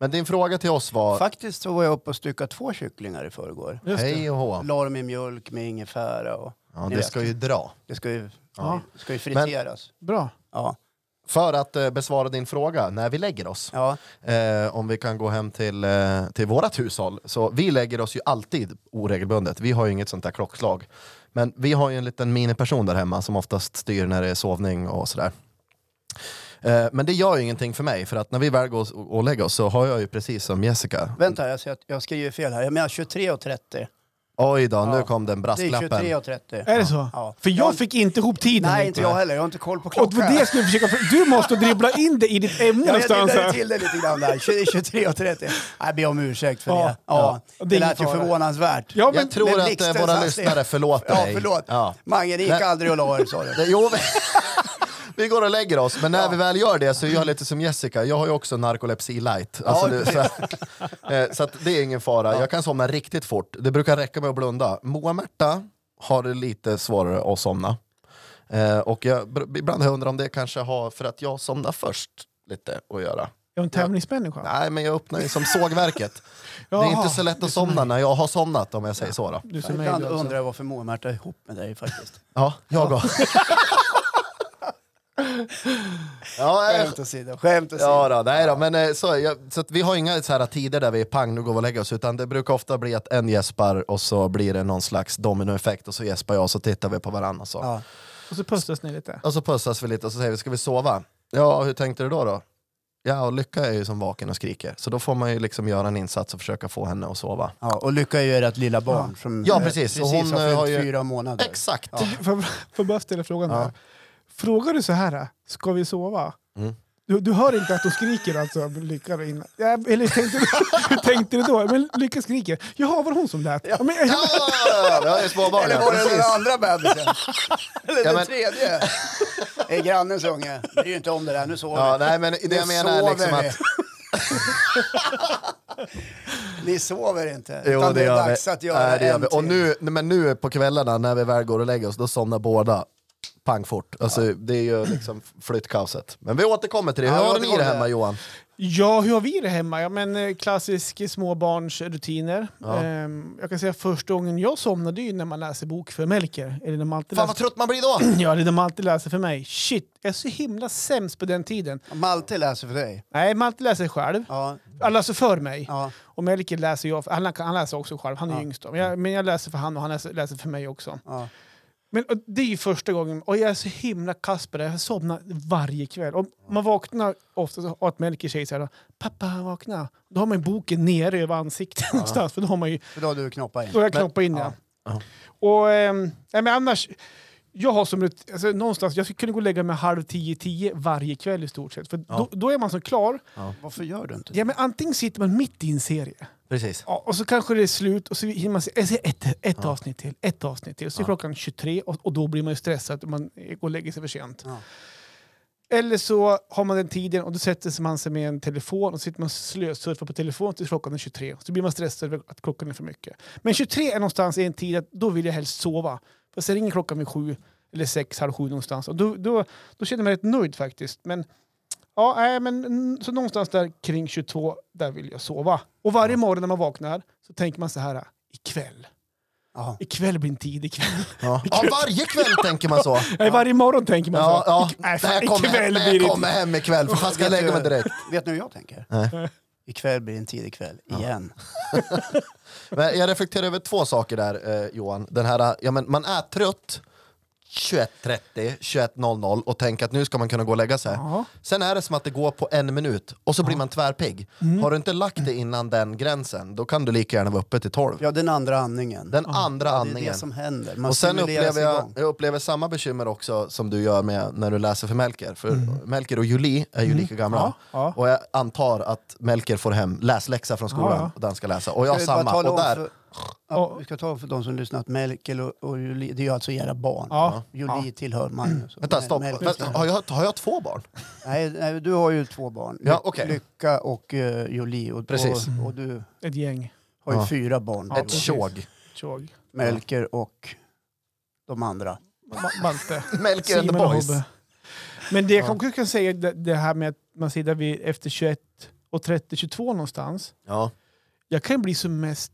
[SPEAKER 3] Men din fråga till oss var,
[SPEAKER 1] Faktiskt så var jag uppe och styckade två kycklingar i förrgår.
[SPEAKER 2] Just det.
[SPEAKER 3] hej och hå.
[SPEAKER 1] La dem i mjölk med ingefära och
[SPEAKER 3] Ja,
[SPEAKER 1] Ni
[SPEAKER 3] det
[SPEAKER 1] vet.
[SPEAKER 3] ska ju dra.
[SPEAKER 1] det ska ju,
[SPEAKER 2] Ja.
[SPEAKER 1] det ska ju friteras.
[SPEAKER 2] Bra.
[SPEAKER 1] Ja.
[SPEAKER 3] För att eh, besvara din fråga, när vi lägger oss,
[SPEAKER 1] Ja.
[SPEAKER 3] eh, om vi kan gå hem till, eh, till vårat hushåll, så vi lägger oss ju alltid oregelbundet. Vi har ju inget sånt där klockslag. Men vi har ju en liten miniperson där hemma som oftast styr när det är sovning och sådär. Eh, Men det gör ju ingenting för mig, för att när vi väl går och- och lägger oss så har jag ju precis som Jessica.
[SPEAKER 1] Vänta, jag, ser att jag skriver fel här. Jag menar 23.30.
[SPEAKER 3] Oj då, nu
[SPEAKER 1] Ja.
[SPEAKER 3] kom
[SPEAKER 1] Det
[SPEAKER 3] den
[SPEAKER 1] är
[SPEAKER 3] brasklappen.
[SPEAKER 1] 23.30.
[SPEAKER 2] Är det så?
[SPEAKER 1] Ja.
[SPEAKER 2] För jag fick inte ihop tiden.
[SPEAKER 1] Nej, inte jag heller. Jag har inte koll på
[SPEAKER 2] Och det var
[SPEAKER 1] klockan.
[SPEAKER 2] det jag skulle försöka... Du måste dribbla in det i ditt ämne
[SPEAKER 1] Ja, jag
[SPEAKER 2] någonstans.
[SPEAKER 1] tittade
[SPEAKER 2] här.
[SPEAKER 1] till det lite grann där. 23.30. Jag ber om ursäkt för
[SPEAKER 2] Ja.
[SPEAKER 1] det. Ja.
[SPEAKER 2] Ja. Det
[SPEAKER 1] Det
[SPEAKER 2] är ingen
[SPEAKER 1] lät ju
[SPEAKER 2] fara.
[SPEAKER 1] förvånansvärt.
[SPEAKER 2] Ja, men,
[SPEAKER 3] Jag tror
[SPEAKER 1] Men
[SPEAKER 3] att eh,
[SPEAKER 1] blixten
[SPEAKER 3] våra
[SPEAKER 1] satt
[SPEAKER 3] lyssnare
[SPEAKER 1] ner.
[SPEAKER 3] förlåter
[SPEAKER 1] Ja,
[SPEAKER 3] dig.
[SPEAKER 1] förlåt.
[SPEAKER 3] Ja.
[SPEAKER 1] Mange, ni gick
[SPEAKER 3] Nej.
[SPEAKER 1] aldrig och la er, sa du.
[SPEAKER 3] Det- Jo, vi, vi går och lägger oss, men när vi väl gör det så är jag lite som Jessica. Jag har ju också narkolepsi light. Alltså,
[SPEAKER 1] Ja,
[SPEAKER 3] det, så eh, så att det är ingen fara. Jag kan somna riktigt fort. Det brukar räcka med att blunda. Moa-Märta har det lite svårare att somna. Eh, och jag, br- ibland har jag undrat om det kanske har för att jag somnar först lite att göra.
[SPEAKER 2] Jag är en tävlingsmänniska.
[SPEAKER 3] Nej, men jag öppnar ju som sågverket. det är
[SPEAKER 2] Jaha,
[SPEAKER 3] inte så lätt att somna när jag har somnat om jag säger så. Då.
[SPEAKER 2] Du som är
[SPEAKER 1] Ibland
[SPEAKER 2] du också.
[SPEAKER 1] undrar
[SPEAKER 3] alltså.
[SPEAKER 1] jag varför Moa-Märta är ihop med dig faktiskt.
[SPEAKER 3] Ja, jag går. Ja, eh,
[SPEAKER 1] Skämt åsido, skämt åsido.
[SPEAKER 3] Ja då, nej då, men eh, så, jag, så att vi har inga så här tider där vi är pang, nu går vi och lägger oss, utan det brukar ofta bli att en gäspar och så blir det någon slags dominoeffekt och så gäspar jag och så tittar vi på varandra och så.
[SPEAKER 1] Ja.
[SPEAKER 2] Och så pussas ni lite.
[SPEAKER 3] Och så pussas vi lite och så säger vi, ska vi sova? Ja, hur tänkte du då? då? Ja, och Lycka är ju som vaken och skriker, så då får man ju liksom göra en insats och försöka få henne att sova.
[SPEAKER 1] Ja, och Lycka är ju ert lilla barn som
[SPEAKER 3] Ja,
[SPEAKER 1] eh,
[SPEAKER 3] precis. Och hon,
[SPEAKER 1] har
[SPEAKER 3] eh,
[SPEAKER 1] fyllt
[SPEAKER 3] har ju-
[SPEAKER 1] fyra månader.
[SPEAKER 3] Exakt!
[SPEAKER 2] Får jag- får jag bara ställa frågan
[SPEAKER 1] Ja.
[SPEAKER 2] där? Frågar du så här, ska vi sova?
[SPEAKER 3] Mm.
[SPEAKER 2] Du, du hör inte att hon skriker alltså, Lycka? då innan. Ja, eller tänkte du, hur tänkte du då? Men Lycka skriker. Jaha, var det hon som lät? Ja. Men,
[SPEAKER 3] Ja, ja, ja, jag är småbarn.
[SPEAKER 1] Eller
[SPEAKER 3] ja,
[SPEAKER 1] var det den
[SPEAKER 3] precis.
[SPEAKER 1] andra bebisen? Eller
[SPEAKER 3] Ja,
[SPEAKER 1] den
[SPEAKER 3] men-
[SPEAKER 1] tredje? Det är grannens unge. Det är ju inte om det där, nu sover
[SPEAKER 3] Ja,
[SPEAKER 1] vi.
[SPEAKER 3] nej, men det
[SPEAKER 1] Nu
[SPEAKER 3] jag menar är
[SPEAKER 1] sover
[SPEAKER 3] liksom
[SPEAKER 1] vi.
[SPEAKER 3] att...
[SPEAKER 1] Ni sover inte.
[SPEAKER 3] Jo,
[SPEAKER 1] utan
[SPEAKER 3] det
[SPEAKER 1] är
[SPEAKER 3] gör vi.
[SPEAKER 1] dags att göra
[SPEAKER 3] Nej, det gör
[SPEAKER 1] en
[SPEAKER 3] vi. Och
[SPEAKER 1] till.
[SPEAKER 3] nu, nej, men nu på kvällarna när vi väl går och lägger oss, då somnar båda pang fort. Alltså, Det är ju liksom flyttkaoset. Men vi återkommer till det. Hur
[SPEAKER 1] Ja,
[SPEAKER 3] har
[SPEAKER 1] vi
[SPEAKER 3] ni det hemma
[SPEAKER 1] återkommer.
[SPEAKER 3] Johan?
[SPEAKER 2] ja, hur har vi det hemma? Ja, men, eh, klassisk småbarnsrutiner.
[SPEAKER 3] Ja.
[SPEAKER 2] Ehm, jag kan säga första gången jag somnade ju när man läser bok för Melker. Eller när man alltid
[SPEAKER 3] Fan
[SPEAKER 2] läser,
[SPEAKER 3] vad trött man blir då!
[SPEAKER 2] ja, eller när man alltid läser för mig. Shit, jag är så himla sämst på den tiden.
[SPEAKER 1] Malte läser för dig.
[SPEAKER 2] Nej, man alltid läser själv.
[SPEAKER 1] Ja,
[SPEAKER 2] Han läser för mig.
[SPEAKER 1] ja.
[SPEAKER 2] Och Melker läser jag, han, han läser också själv, han är
[SPEAKER 1] Ja.
[SPEAKER 2] yngst då. Men jag, men jag läser för han och han läser, läser för mig också.
[SPEAKER 1] Ja.
[SPEAKER 2] Men och det är ju första gången, och jag är så himla kass på det, jag somnar varje kväll. Och man vaknar ofta så- och att Melker säger så här, pappa vakna. Då har man ju boken nere över ansiktet någonstans, för då har man ju,
[SPEAKER 1] För då har du knoppat
[SPEAKER 2] då
[SPEAKER 1] in.
[SPEAKER 2] har jag knoppat in
[SPEAKER 1] ja.
[SPEAKER 2] ja. Och ehm, nej, men annars, jag har som rut- alltså, någonstans, jag skulle kunna gå och lägga mig halv tio, tio varje kväll i stort sett. För då, då är man så klar,
[SPEAKER 1] Varför gör du inte det?
[SPEAKER 2] ja men antingen sitter man mitt i en serie,
[SPEAKER 3] Precis.
[SPEAKER 2] Ja, och så kanske det är slut och så hinner man se jag ser ett, ett avsnitt till, ett avsnitt till. Så är klockan 23 och, och då blir man ju stressad och man eh, går och lägger sig för sent.
[SPEAKER 1] Ja.
[SPEAKER 2] Eller så har man den tiden och då sätter man sig med en telefon och sitter man och slösurfar på telefon tills klockan är 23. Så blir man stressad över att klockan är för mycket. Men 23 är någonstans i en tid att då vill jag helst sova. För sen ringer klockan vid sju eller sex, halv sju någonstans. Och då, då, då känner jag mig rätt nöjd faktiskt. Men Ja, nej, men mm, så någonstans där kring 22, där vill jag sova. Och varje morgon när man vaknar så tänker man så här, ikväll.
[SPEAKER 1] Ja.
[SPEAKER 2] Ikväll blir en tid ikväll.
[SPEAKER 3] Ja. Ja, varje kväll tänker man så.
[SPEAKER 2] Nej, varje morgon tänker man
[SPEAKER 3] Ja,
[SPEAKER 2] så.
[SPEAKER 3] ja.
[SPEAKER 2] Ik- nej,
[SPEAKER 3] Det
[SPEAKER 2] fan,
[SPEAKER 3] här kommer
[SPEAKER 2] ikväll
[SPEAKER 3] hem, det
[SPEAKER 2] blir
[SPEAKER 3] här
[SPEAKER 2] det
[SPEAKER 3] kommer hem ikväll, för fan ska jag lägga mig direkt.
[SPEAKER 1] Vet ni hur jag tänker?
[SPEAKER 3] Nej.
[SPEAKER 1] Ikväll blir en tidig kväll, igen.
[SPEAKER 3] Men jag reflekterar över två saker där eh, Johan. Den här, ja, men man är trött 21.30, 21.00 och tänker att nu ska man kunna gå och lägga sig.
[SPEAKER 2] Ja.
[SPEAKER 3] Sen är det som att det går på en minut och så blir man tvärpigg.
[SPEAKER 1] Mm.
[SPEAKER 3] Har du inte lagt det innan den gränsen, då kan du lika gärna vara uppe till 12.
[SPEAKER 1] Ja, den andra andningen.
[SPEAKER 3] Den andra
[SPEAKER 1] det är
[SPEAKER 3] andningen.
[SPEAKER 1] det som händer. Man
[SPEAKER 3] Och sen
[SPEAKER 1] stimuleras
[SPEAKER 3] upplever jag,
[SPEAKER 1] igång.
[SPEAKER 3] jag upplever samma bekymmer också som du gör med när du läser för Melker. För
[SPEAKER 1] Mm.
[SPEAKER 3] Melker och Julie är ju lika gamla.
[SPEAKER 2] Ja, ja.
[SPEAKER 3] Och jag antar att Melker får hem läsläxa från skolan
[SPEAKER 2] Ja, ja.
[SPEAKER 3] och den ska läsa. Och jag
[SPEAKER 1] Ska vi bara
[SPEAKER 3] samma.
[SPEAKER 1] tala
[SPEAKER 3] Och
[SPEAKER 1] om
[SPEAKER 3] där,
[SPEAKER 1] för- Ja, vi ska ta för de som lyssnat, Melker och, och Julie, det är ju alltså era barn.
[SPEAKER 2] Ja.
[SPEAKER 1] Julie tillhör Magnus.
[SPEAKER 3] Vänta,
[SPEAKER 1] Nej,
[SPEAKER 3] stopp.
[SPEAKER 1] Melker
[SPEAKER 3] Vänta,
[SPEAKER 1] tillhör-
[SPEAKER 3] har, jag, har jag två barn?
[SPEAKER 1] Nej, nej, du har ju två barn.
[SPEAKER 3] Ja,
[SPEAKER 1] Ly-
[SPEAKER 3] okej.
[SPEAKER 1] Lycka och uh, Jolie. Och,
[SPEAKER 3] Precis.
[SPEAKER 1] Och, och du
[SPEAKER 2] Ett gäng.
[SPEAKER 1] har ju
[SPEAKER 3] Ja.
[SPEAKER 1] fyra barn.
[SPEAKER 2] Ja,
[SPEAKER 1] Jolie.
[SPEAKER 3] Ett tjog.
[SPEAKER 2] Tjog.
[SPEAKER 1] Melker och de andra.
[SPEAKER 2] Ma- Malte.
[SPEAKER 3] Melker and the
[SPEAKER 2] Simon och
[SPEAKER 3] boys.
[SPEAKER 2] Hobbe. Men det jag kanske kan säga, det, det här med att man sitter vid efter 21 och 30, 22 någonstans.
[SPEAKER 3] Ja.
[SPEAKER 2] jag kan bli som mest,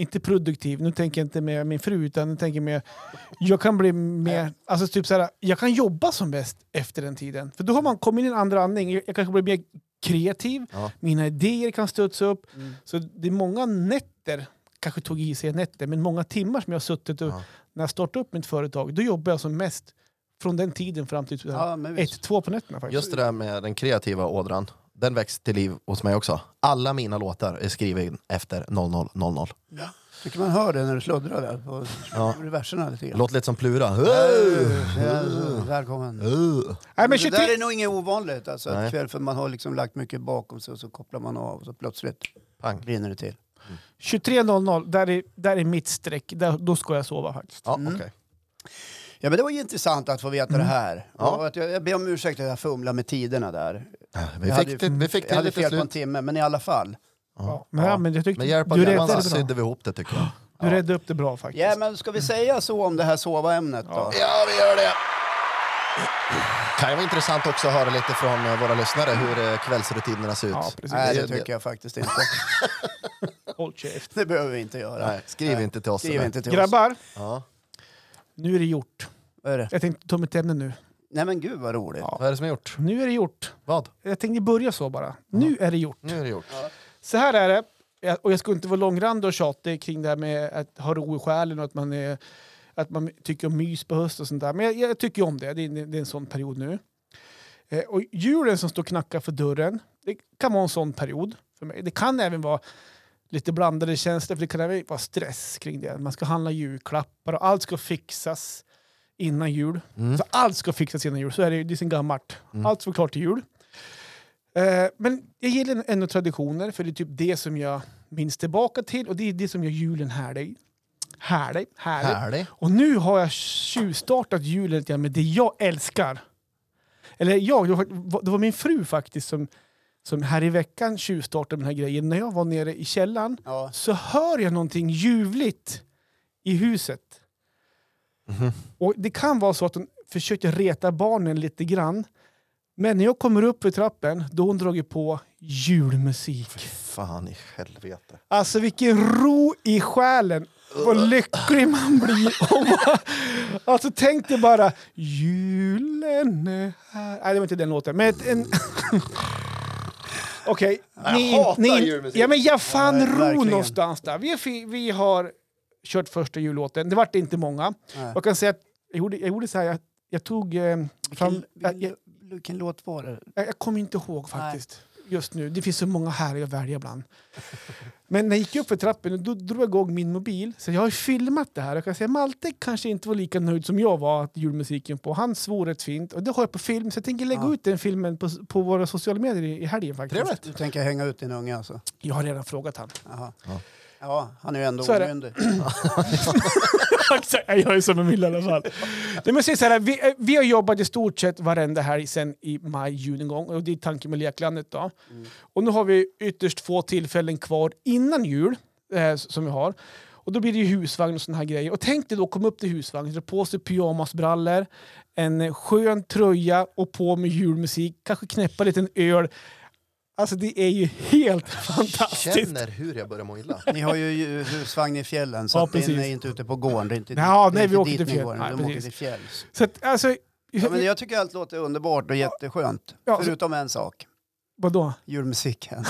[SPEAKER 2] inte produktiv, nu tänker jag inte med min fru, utan nu tänker jag med, jag kan bli mer, alltså typ så här, jag kan jobba som bäst efter den tiden. För då har man kommit in i en andra andning, jag jag kanske blir mer kreativ,
[SPEAKER 3] Ja.
[SPEAKER 2] mina idéer kan studsa upp.
[SPEAKER 1] Mm.
[SPEAKER 2] Så det är många nätter, kanske tog i sig nätter, men många timmar som jag har suttit och
[SPEAKER 3] Ja.
[SPEAKER 2] när jag startade upp mitt företag, då jobbar jag som mest från den tiden fram till typ
[SPEAKER 1] Ja, men visst.
[SPEAKER 2] ett, två på nätterna faktiskt.
[SPEAKER 3] Just det där med den kreativa ådran. Den väcks till liv hos mig också. Alla mina låtar är skrivna efter 0000.
[SPEAKER 1] Tycker man hör det när du sluddrar där på
[SPEAKER 3] Ja.
[SPEAKER 1] verserna lite grann.
[SPEAKER 3] Låter lite som Plura.
[SPEAKER 1] Ja, så, Välkommen.
[SPEAKER 2] Nej, men
[SPEAKER 1] det
[SPEAKER 2] 23,
[SPEAKER 1] där är nog inget ovanligt. Alltså,
[SPEAKER 3] Nej.
[SPEAKER 1] att kväll, för man har liksom lagt mycket bakom sig och så kopplar man av och så plötsligt
[SPEAKER 3] Pang.
[SPEAKER 1] brinner det till.
[SPEAKER 2] 23.00, där är, där är mitt streck, där, då ska jag sova faktiskt.
[SPEAKER 3] Ja, okej.
[SPEAKER 1] Ja, men det var ju intressant att få veta det här.
[SPEAKER 3] Mm. Ja.
[SPEAKER 1] Och att jag, jag ber om ursäkt att jag fumlade med tiderna där.
[SPEAKER 3] Vi
[SPEAKER 1] Jag hade
[SPEAKER 3] fick,
[SPEAKER 1] ju-
[SPEAKER 3] till, vi fick
[SPEAKER 1] Jag
[SPEAKER 3] till
[SPEAKER 1] hade
[SPEAKER 3] det till
[SPEAKER 1] fel på en
[SPEAKER 3] slut.
[SPEAKER 1] timme, men i alla fall.
[SPEAKER 2] Ja, men, ja, men jag tyckte,
[SPEAKER 3] Med hjälp av
[SPEAKER 2] du räddade
[SPEAKER 3] Johan
[SPEAKER 2] det
[SPEAKER 3] så
[SPEAKER 2] bra.
[SPEAKER 3] sydde vi ihop det tycker jag.
[SPEAKER 2] Du räddade upp det bra faktiskt.
[SPEAKER 1] Ja, men ska vi säga så om det här sova-ämnet då?
[SPEAKER 3] Ja, vi gör det! Kan ju vara intressant också att höra lite från eh, våra lyssnare hur eh, kvällsrutinerna ser ut.
[SPEAKER 2] Ja, precis.
[SPEAKER 1] Nej, det
[SPEAKER 3] Det-
[SPEAKER 1] tycker jag faktiskt inte.
[SPEAKER 2] Håll käft.
[SPEAKER 1] Det behöver vi inte göra.
[SPEAKER 3] Nej, skriv inte till oss.
[SPEAKER 1] Skriv
[SPEAKER 3] eller?
[SPEAKER 1] inte till oss.
[SPEAKER 2] Grabbar,
[SPEAKER 3] Ja.
[SPEAKER 2] nu är det gjort.
[SPEAKER 1] Vad är det?
[SPEAKER 2] Jag tänkte ta mitt ämne nu.
[SPEAKER 1] Nej men gud vad roligt.
[SPEAKER 3] Vad är det som är gjort?
[SPEAKER 2] Nu är det gjort.
[SPEAKER 3] Vad?
[SPEAKER 2] Jag tänkte börja så bara. Nu är det gjort.
[SPEAKER 3] Nu är det gjort.
[SPEAKER 2] Så här är det, Jag- och jag ska inte vara långrandig och tjatig kring det här med att ha ro i själen och att man, är, att man tycker om mys på höst och sånt där. Men jag, jag tycker ju om det, det är, det är en sån period nu. Eh, och julen som står och knackar för dörren, det kan vara en sån period för mig. Det kan även vara lite blandade känslor, för det kan även vara stress kring det. Man ska handla julklappar och allt ska fixas innan jul. Så allt ska fixas innan jul, så är det ju det är sen gammalt. Allt ska vara klart till jul. Eh, men jag gillar ändå traditioner, för det är typ det som jag minns tillbaka till och det är det som gör julen härlig. Härlig, härlig.
[SPEAKER 3] Härlig.
[SPEAKER 2] Och nu har jag tjuvstartat julen lite grann med det jag älskar. Eller jag, det var, det var min fru faktiskt som, som här i veckan tjuvstartade med den här grejen. När jag var nere i källaren
[SPEAKER 1] Ja.
[SPEAKER 2] så hör jag någonting ljuvligt i huset. Och det kan vara så att hon försökte reta barnen lite grann. Men när jag kommer upp för trappen, då har hon dragit på julmusik.
[SPEAKER 3] Fan i helvete.
[SPEAKER 2] Alltså vilken ro i själen. Vad lycklig man blir. om man- Alltså tänk dig bara, julen är här. Nej, det var inte den låten. Men ett- en... Okej. ni-
[SPEAKER 3] hatar
[SPEAKER 2] ni-
[SPEAKER 3] julmusik.
[SPEAKER 2] Ja, men jag
[SPEAKER 1] Ja,
[SPEAKER 2] fann ro
[SPEAKER 1] verkligen.
[SPEAKER 2] någonstans där. Vi, är fi- vi har kört första jullåten. Det vart inte många.
[SPEAKER 1] Nej.
[SPEAKER 2] Jag kan säga att jag gjorde, jag gjorde så här, jag, jag tog eh, fram...
[SPEAKER 1] Vilken,
[SPEAKER 2] Jag, jag,
[SPEAKER 1] vilken, vilken låt var det?
[SPEAKER 2] jag jag kommer inte ihåg faktiskt. Just nu. Det finns så många härliga att välja bland. Men när jag gick upp för trappen då drog jag igång min mobil. Så jag har ju filmat det här. Jag kan säga Malte kanske inte var lika nöjd som jag var att julmusiken på. Han svor rätt fint. Och det har jag på film. Så jag tänker lägga
[SPEAKER 1] Ja.
[SPEAKER 2] ut den filmen på, på våra sociala medier i, i helgen faktiskt.
[SPEAKER 3] Trevligt.
[SPEAKER 1] Du tänker hänga ut din unge alltså?
[SPEAKER 2] Jag har redan frågat han.
[SPEAKER 1] Jaha.
[SPEAKER 3] Ja.
[SPEAKER 1] Ja, han är ju ändå
[SPEAKER 2] Så är det.
[SPEAKER 1] omyndig.
[SPEAKER 2] Exakt. Nej, Jag är som en mille i alla fall. Nej, men säg så här, vi, eh, vi har jobbat i stort sett varenda helg sen i maj, juni en gång. Och det är tanken med leklandet. Då. Och nu har vi ytterst få tillfällen kvar innan jul eh, s- som vi har. Och då blir det ju husvagn och såna här grejer. Och tänk dig då komma upp till husvagn, dra på sig pyjamasbrallor, en eh, skön tröja och på med julmusik, kanske knäppa lite en öl. Alltså det är ju helt fantastiskt.
[SPEAKER 3] Känner hur jag börjar må illa.
[SPEAKER 1] Ni har ju ju husvagn i fjällen så
[SPEAKER 2] Ja,
[SPEAKER 1] att ni
[SPEAKER 2] precis.
[SPEAKER 1] är inte ute på gården. Det är inte,
[SPEAKER 2] Ja,
[SPEAKER 1] det är
[SPEAKER 2] nej,
[SPEAKER 1] inte
[SPEAKER 2] vi åker
[SPEAKER 1] dit
[SPEAKER 2] till
[SPEAKER 1] ni
[SPEAKER 2] fjäll.
[SPEAKER 1] går,
[SPEAKER 2] Nej,
[SPEAKER 1] de åker
[SPEAKER 2] precis.
[SPEAKER 1] till fjälls.
[SPEAKER 2] Så att, alltså,
[SPEAKER 1] Ja, men jag tycker allt låter underbart och jätteskönt.
[SPEAKER 2] Ja, så-
[SPEAKER 1] Förutom en sak,
[SPEAKER 2] vadå?
[SPEAKER 1] julmusiken.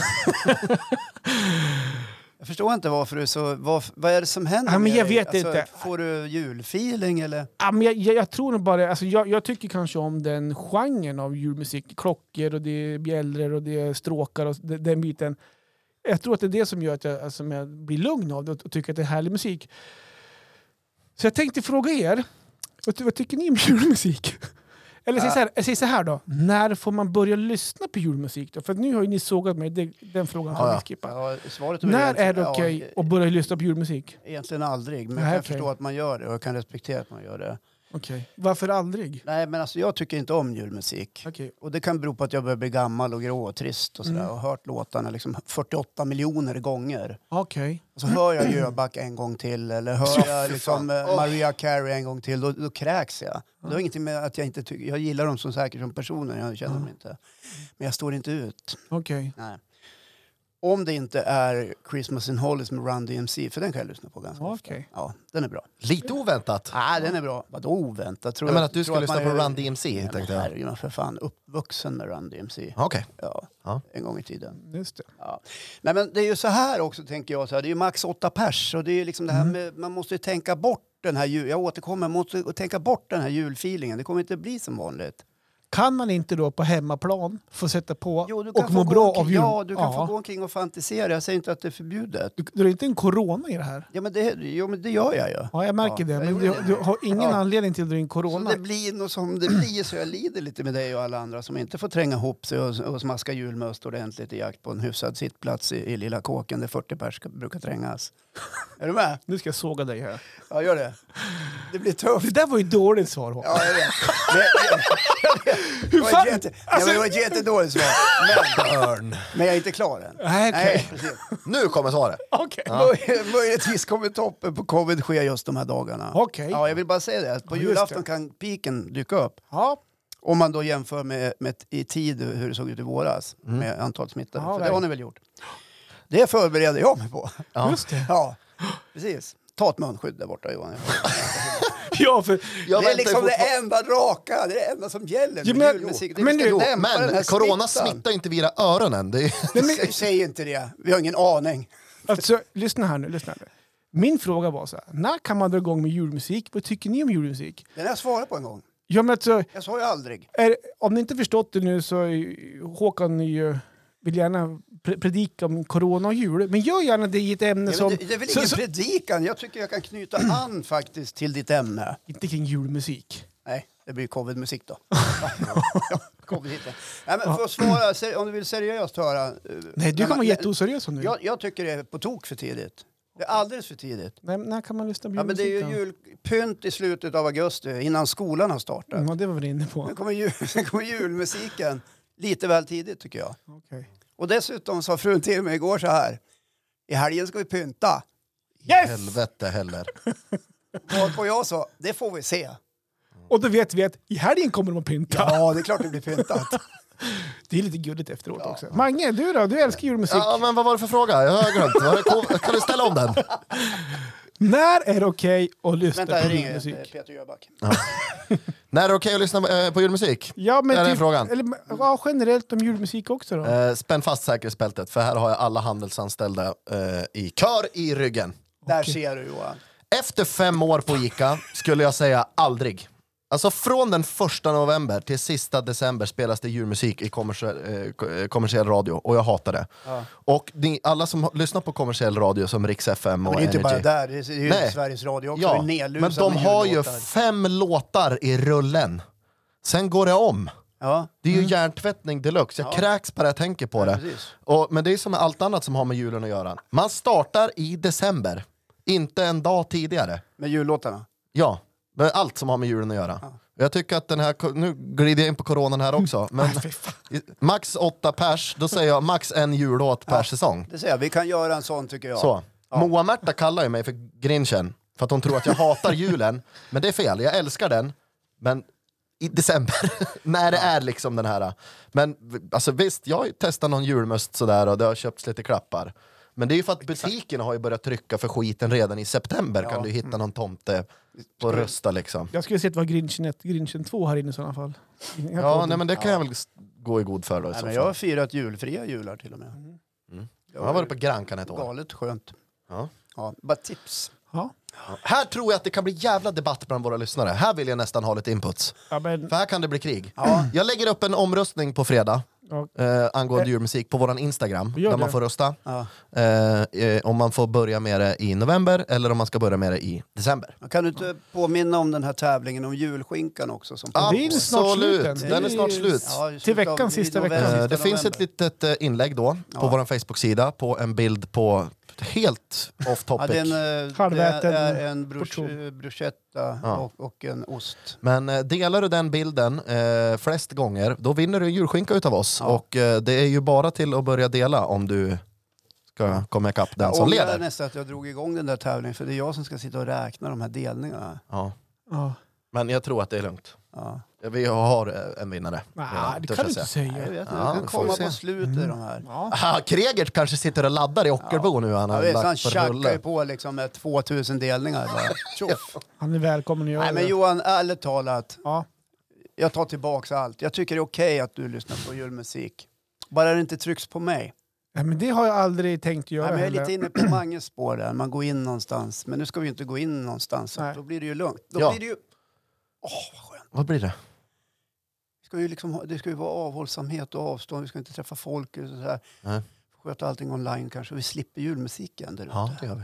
[SPEAKER 1] jag förstår inte varför du är så... Vad, vad är det som händer
[SPEAKER 2] Ja, men
[SPEAKER 1] med
[SPEAKER 2] jag
[SPEAKER 1] dig? Alltså,
[SPEAKER 2] vet inte.
[SPEAKER 1] Får du julfeeling eller?
[SPEAKER 2] Ja, men jag, jag, jag tror nog bara, alltså jag, jag tycker kanske om den genren av julmusik. Klockor och det är bjällror och det är stråkar och den, den biten. Jag tror att det är det som gör att jag, alltså, som jag blir lugn av det och, och tycker att det är härlig musik. Så jag tänkte fråga er, vad, ty- vad tycker ni om julmusik? Eller säg så, här, jag säger så här då, när får man börja lyssna på julmusik? Då? För att nu har ju ni sågat mig, det, den frågan kan
[SPEAKER 3] Ja,
[SPEAKER 2] vi
[SPEAKER 3] ja.
[SPEAKER 2] skippa.
[SPEAKER 1] Ja, svaret
[SPEAKER 2] När
[SPEAKER 1] egentligen-
[SPEAKER 2] är det okej
[SPEAKER 1] Ja, e-
[SPEAKER 2] att börja lyssna på julmusik?
[SPEAKER 1] egentligen aldrig, men
[SPEAKER 2] Nej,
[SPEAKER 1] jag kan
[SPEAKER 2] okej.
[SPEAKER 1] förstå att man gör det och jag kan respektera att man gör det.
[SPEAKER 2] Okej. Varför aldrig?
[SPEAKER 1] Nej, men alltså jag tycker inte om julmusik.
[SPEAKER 2] Okej.
[SPEAKER 1] Och det kan bero på att jag börjar bli gammal och grå och trist och sådär.
[SPEAKER 2] Mm.
[SPEAKER 1] Och hört låtarna liksom 48 miljoner gånger.
[SPEAKER 2] Okej.
[SPEAKER 1] Och så hör
[SPEAKER 3] Mm.
[SPEAKER 1] jag Jöback en gång till eller hör jag liksom, eh, Maria Carey en gång till, då, då kräks jag. Det har ingenting med att jag inte tycker... Jag gillar dem som säkert som personer, jag känner dem inte. Men jag står inte ut.
[SPEAKER 2] Okej.
[SPEAKER 1] Nej. Om det inte är Christmas in Hollies med Run DMC, för den kan jag lyssna på ganska
[SPEAKER 2] Okej.
[SPEAKER 1] ofta. Ja, den är bra.
[SPEAKER 3] Lite oväntat.
[SPEAKER 1] Nej, den är bra. Vadå oväntat? Tror
[SPEAKER 3] Jag menar att du
[SPEAKER 1] tror
[SPEAKER 3] ska lyssna
[SPEAKER 1] man
[SPEAKER 3] på
[SPEAKER 1] är-
[SPEAKER 3] Run DMC, tänkte jag.
[SPEAKER 1] Herregud, man är för fan uppvuxen med Run DMC.
[SPEAKER 3] Okej.
[SPEAKER 1] Ja,
[SPEAKER 3] Ja.
[SPEAKER 1] en gång i tiden.
[SPEAKER 2] Just det.
[SPEAKER 1] Ja. Nej, men det är ju så här också, tänker jag. Så här, det är ju max åtta pers. Och det är ju liksom det
[SPEAKER 2] Mm.
[SPEAKER 1] här med, man måste ju tänka bort den här jul... Jag återkommer, man måste tänka bort den här julfeelingen. Det kommer inte bli som vanligt.
[SPEAKER 2] Kan man inte då på hemmaplan få sätta på
[SPEAKER 1] Jo, du kan
[SPEAKER 2] och
[SPEAKER 1] få
[SPEAKER 2] må
[SPEAKER 1] gå
[SPEAKER 2] bra
[SPEAKER 1] omkring-
[SPEAKER 2] av jul?
[SPEAKER 1] Ja, du kan få gå omkring och fantisera. Jag säger inte att det är förbjudet.
[SPEAKER 2] Du, du är inte en corona i det här?
[SPEAKER 1] Ja, men det, jo, men det gör jag ju.
[SPEAKER 2] Ja, jag märker
[SPEAKER 1] Ja,
[SPEAKER 2] det.
[SPEAKER 1] jag
[SPEAKER 2] Men
[SPEAKER 1] gjorde
[SPEAKER 2] du,
[SPEAKER 1] det.
[SPEAKER 2] du har ingen
[SPEAKER 1] Ja.
[SPEAKER 2] anledning till att du är en
[SPEAKER 1] Som
[SPEAKER 2] corona.
[SPEAKER 1] det blir något som det blir så jag lider lite med dig och alla andra som inte får tränga ihop sig och, och smaska julmust ordentligt i jakt på en hyfsad sittplats i, i lilla kåken där 40 pers ska- brukar trängas. Är du med?
[SPEAKER 2] Nu ska jag såga dig här.
[SPEAKER 1] Ja, gör det. Det blir
[SPEAKER 2] Det
[SPEAKER 1] tufft.
[SPEAKER 2] där var ju dåligt svar Håkan.
[SPEAKER 1] Ja, jag vet. Men, det var
[SPEAKER 2] fan? Alltså-
[SPEAKER 1] ett jätte, nej, men det var ett jättedåligt svar. Men,
[SPEAKER 3] Burn.
[SPEAKER 1] men jag är inte klar än.
[SPEAKER 2] Nej, okej.
[SPEAKER 1] precis.
[SPEAKER 3] Nu kommer svaret.
[SPEAKER 2] Okej.
[SPEAKER 1] Möj- Möjligtvis kommer toppen på covid ske just de här dagarna.
[SPEAKER 2] Okej.
[SPEAKER 1] Ja, jag vill bara säga det. att På
[SPEAKER 2] Ja, just
[SPEAKER 1] julafton
[SPEAKER 2] det.
[SPEAKER 1] kan piken dyka upp.
[SPEAKER 2] Ja.
[SPEAKER 1] Om man då jämför med, med i tid hur det såg ut i våras med antal smittade.
[SPEAKER 2] Ja,
[SPEAKER 1] för det
[SPEAKER 2] verkligen.
[SPEAKER 1] har ni väl gjort? Det förbereder jag mig på.
[SPEAKER 2] just det.
[SPEAKER 1] Ja, precis. Ta ett munskydd där borta Johan.
[SPEAKER 2] ja, för...
[SPEAKER 3] Jag
[SPEAKER 1] det är
[SPEAKER 3] väntar
[SPEAKER 1] liksom det
[SPEAKER 3] fortfar-
[SPEAKER 1] enda raka, det är det enda som gäller
[SPEAKER 2] Jo,
[SPEAKER 1] med
[SPEAKER 2] men-
[SPEAKER 1] julmusik.
[SPEAKER 2] men
[SPEAKER 1] vi
[SPEAKER 2] du-
[SPEAKER 1] ska
[SPEAKER 3] Nej
[SPEAKER 1] dämpa den här
[SPEAKER 3] men, corona
[SPEAKER 1] smittan.
[SPEAKER 3] smittar ju inte via öronen. Det är...
[SPEAKER 1] Sä- Säg inte det, vi har ingen aning.
[SPEAKER 2] Alltså, lyssna här nu. Lyssna här nu. Min fråga var så här, när kan man dra igång med julmusik? Vad tycker ni om julmusik?
[SPEAKER 1] Den har jag svarat på en gång.
[SPEAKER 2] Ja, men alltså,
[SPEAKER 1] Jag sa ju aldrig.
[SPEAKER 2] är, om ni inte förstått det nu så är, Håkan är ju, vill gärna pre- predika om corona och jul. Men gör gärna det i ett ämne
[SPEAKER 1] Ja,
[SPEAKER 2] som...
[SPEAKER 1] men det, det är väl
[SPEAKER 2] så,
[SPEAKER 1] ingen
[SPEAKER 2] så,
[SPEAKER 1] predikan, jag tycker jag kan knyta an faktiskt till ditt ämne.
[SPEAKER 2] inte kring julmusik.
[SPEAKER 1] Nej, det blir covidmusik då. ja, covid hit. Nej, men för att svara, ser- om du vill seriöst höra. eh, när
[SPEAKER 2] Nej, du kan
[SPEAKER 1] man-
[SPEAKER 2] vara jätteoseriös nu.
[SPEAKER 1] jag, jag tycker det är på tok för tidigt. Det är alldeles för tidigt.
[SPEAKER 2] Nej, när kan man lyssna på
[SPEAKER 1] Ja, men det är
[SPEAKER 2] julmusik?
[SPEAKER 1] ju
[SPEAKER 2] då?
[SPEAKER 1] julpynt i slutet av augusti, innan skolan har startat.
[SPEAKER 2] Mm, Ja, det var vi inne på.
[SPEAKER 1] Sen kommer, jul, sen kommer julmusiken lite väl tidigt tycker jag.
[SPEAKER 2] Okej.
[SPEAKER 1] Och dessutom sa frun till mig igår så här. I helgen ska vi pynta.
[SPEAKER 3] Helvete heller.
[SPEAKER 1] Och jag sa, det får vi se.
[SPEAKER 2] Och då vet vi att i helgen kommer de att pynta.
[SPEAKER 1] Ja, det är klart det blir pyntat.
[SPEAKER 2] Det är lite gulligt efteråt också. Mange, du då? Du älskar julmusik.
[SPEAKER 3] Ja, men vad var det för fråga? Jag har glömt. Var det ko- Kan du ställa om den?
[SPEAKER 2] När är det okej att lyssna
[SPEAKER 1] Vänta, jag
[SPEAKER 2] på
[SPEAKER 1] ringer
[SPEAKER 2] julmusik?
[SPEAKER 1] eh, Peter Jöback.
[SPEAKER 3] När är det okej att lyssna eh, på julmusik?
[SPEAKER 2] Ja, men
[SPEAKER 3] Är det
[SPEAKER 2] typ,
[SPEAKER 3] frågan?
[SPEAKER 2] Eller, ja, generellt om julmusik också då.
[SPEAKER 3] Eh, Spänn fast säkerhetsbältet, för här har jag alla handelsanställda eh, i kör i ryggen.
[SPEAKER 1] Där ser du Johan.
[SPEAKER 3] Efter fem år på Ica skulle jag säga aldrig. Alltså från den första november till sista december spelas det julmusik i kommersiell, eh, ko- eh, kommersiell radio och jag hatar det. Och ni, alla som har- lyssnar på kommersiell radio som Rix FM och
[SPEAKER 1] Men det är inte
[SPEAKER 3] Energy.
[SPEAKER 1] bara där, det är ju
[SPEAKER 3] Nej.
[SPEAKER 1] Sveriges Radio också.
[SPEAKER 3] Ja,
[SPEAKER 1] är nedlusad
[SPEAKER 3] men de
[SPEAKER 1] med
[SPEAKER 3] har ju
[SPEAKER 1] jullåtar.
[SPEAKER 3] fem låtar i rullen. Sen går det om.
[SPEAKER 1] Ja.
[SPEAKER 3] Det är ju hjärntvättning deluxe. Jag kräks bara jag tänker på det.
[SPEAKER 1] Mm. precis.
[SPEAKER 3] och, men det är som med allt annat som har med julen att göra. Man startar i december, inte en dag tidigare.
[SPEAKER 1] Med jullåtarna.
[SPEAKER 3] Ja, det är allt som har med julen att göra. Jag tycker att den här, ko- nu glider jag in på coronan här också, men i- max åtta pers, då säger jag max en jullåt per säsong.
[SPEAKER 1] Det säger jag, vi kan göra en sån tycker jag.
[SPEAKER 3] Så. Moa-Märta kallar ju mig för grinchen, för att hon tror att jag hatar julen. Men det är fel, jag älskar den, men i december, när det är liksom den här. Men v- alltså visst, jag har ju testat någon julmust sådär och det har köpts lite klappar. Men det är ju för att butikerna har ju börjat trycka för skiten redan i september kan du hitta någon tomte på Rusta liksom.
[SPEAKER 2] Jag skulle sett vad Grinchen 1, Grinchen 2 här inne i sådana fall.
[SPEAKER 3] Ja, nej, men det kan jag väl s- gå i god för då i
[SPEAKER 1] Nej,
[SPEAKER 3] så
[SPEAKER 1] men
[SPEAKER 3] fall.
[SPEAKER 1] jag har firat julfria jular till och med. Mm.
[SPEAKER 3] Jag har varit på Gran Canaria ett år.
[SPEAKER 1] Galet skönt.
[SPEAKER 3] Ja.
[SPEAKER 1] Ja, bara tips.
[SPEAKER 2] Ja.
[SPEAKER 3] Här tror jag att det kan bli jävla debatt bland våra lyssnare. Här vill jag nästan ha lite inputs.
[SPEAKER 2] Ja, men,
[SPEAKER 3] För här kan det bli krig.
[SPEAKER 1] Ja.
[SPEAKER 3] Jag lägger upp en omröstning på fredag
[SPEAKER 2] ja,
[SPEAKER 3] eh, angående julmusik på våran Instagram.
[SPEAKER 2] Gör
[SPEAKER 3] Där man
[SPEAKER 2] det.
[SPEAKER 3] får rösta.
[SPEAKER 1] Ja.
[SPEAKER 3] Eh, eh, om man får börja med det i november eller om man ska börja med det i december.
[SPEAKER 1] Kan du inte påminna om den här tävlingen om julskinkan också? Som
[SPEAKER 2] det är ju snart slut
[SPEAKER 3] Absolut, den är snart slut.
[SPEAKER 1] Ja, i
[SPEAKER 2] Till
[SPEAKER 1] slutet av-
[SPEAKER 2] veckan,
[SPEAKER 1] i
[SPEAKER 2] sista
[SPEAKER 1] november,
[SPEAKER 2] veckan.
[SPEAKER 1] sista
[SPEAKER 3] Eh, Det finns ett
[SPEAKER 1] november.
[SPEAKER 3] litet eh, inlägg då på
[SPEAKER 1] Ja.
[SPEAKER 3] vår Facebook-sida på en bild på helt off
[SPEAKER 1] Ja,
[SPEAKER 3] topic.
[SPEAKER 1] det är en, eh,
[SPEAKER 2] Halväten
[SPEAKER 1] det är en brusch,
[SPEAKER 2] portion.
[SPEAKER 1] eh, bruschetta
[SPEAKER 3] Ja.
[SPEAKER 1] och, och en ost.
[SPEAKER 3] Men eh, delar du den bilden eh, flest gånger, då vinner du en julskinka utav oss.
[SPEAKER 1] Ja.
[SPEAKER 3] Och eh, det är ju bara till att börja dela om du ska komma ikapp den som
[SPEAKER 1] ångrar
[SPEAKER 3] leder.
[SPEAKER 1] nästan att jag drog igång den där tävlingen för det är jag som ska sitta och räkna de här delningarna.
[SPEAKER 3] Ja.
[SPEAKER 2] ja.
[SPEAKER 3] Men jag tror att det är lugnt.
[SPEAKER 1] Ja.
[SPEAKER 3] Vi har eh, en vinnare.
[SPEAKER 2] Nej,
[SPEAKER 3] redan,
[SPEAKER 2] det
[SPEAKER 3] törs
[SPEAKER 2] kan du
[SPEAKER 3] jag
[SPEAKER 2] inte
[SPEAKER 3] säga.
[SPEAKER 1] Nej, Jag
[SPEAKER 2] säga.
[SPEAKER 1] vet inte,
[SPEAKER 3] Ja,
[SPEAKER 1] det
[SPEAKER 3] vi
[SPEAKER 1] kan
[SPEAKER 3] får
[SPEAKER 1] komma
[SPEAKER 3] se. Mm.
[SPEAKER 1] på slutet de här.
[SPEAKER 2] Ja.
[SPEAKER 3] Aha, Kregert kanske sitter och laddar i Ockelbo nu. Han
[SPEAKER 1] Ja,
[SPEAKER 3] har
[SPEAKER 1] visst, han
[SPEAKER 3] lagt på
[SPEAKER 1] tjackar ju
[SPEAKER 3] rulle.
[SPEAKER 1] på liksom med 2000 delningar. Bara. Tjoff.
[SPEAKER 2] Han är välkommen att göra
[SPEAKER 1] Nej men
[SPEAKER 2] det.
[SPEAKER 1] Johan, ärligt talat,
[SPEAKER 2] Ja.
[SPEAKER 1] jag tar tillbaks allt. Jag tycker det är okej att du lyssnar på julmusik. Bara det inte trycks på mig.
[SPEAKER 2] Nej, men det har jag aldrig tänkt göra
[SPEAKER 1] Nej, men jag är
[SPEAKER 2] heller.
[SPEAKER 1] lite inne på Manges spår där, man går in någonstans. Men nu ska vi ju inte gå in någonstans, så
[SPEAKER 2] Nej.
[SPEAKER 1] då blir det ju lugnt. Då
[SPEAKER 3] Ja.
[SPEAKER 1] blir det ju... Åh, vad skönt.
[SPEAKER 3] Vad blir det?
[SPEAKER 1] Vi Ska ju liksom, ha- det ska ju vara avhållsamhet och avstånd, vi ska inte träffa folk och sådär.
[SPEAKER 3] Nej.
[SPEAKER 1] Sköta allting online kanske, vi slipper julmusiken där ute.
[SPEAKER 3] Ja, det gör vi.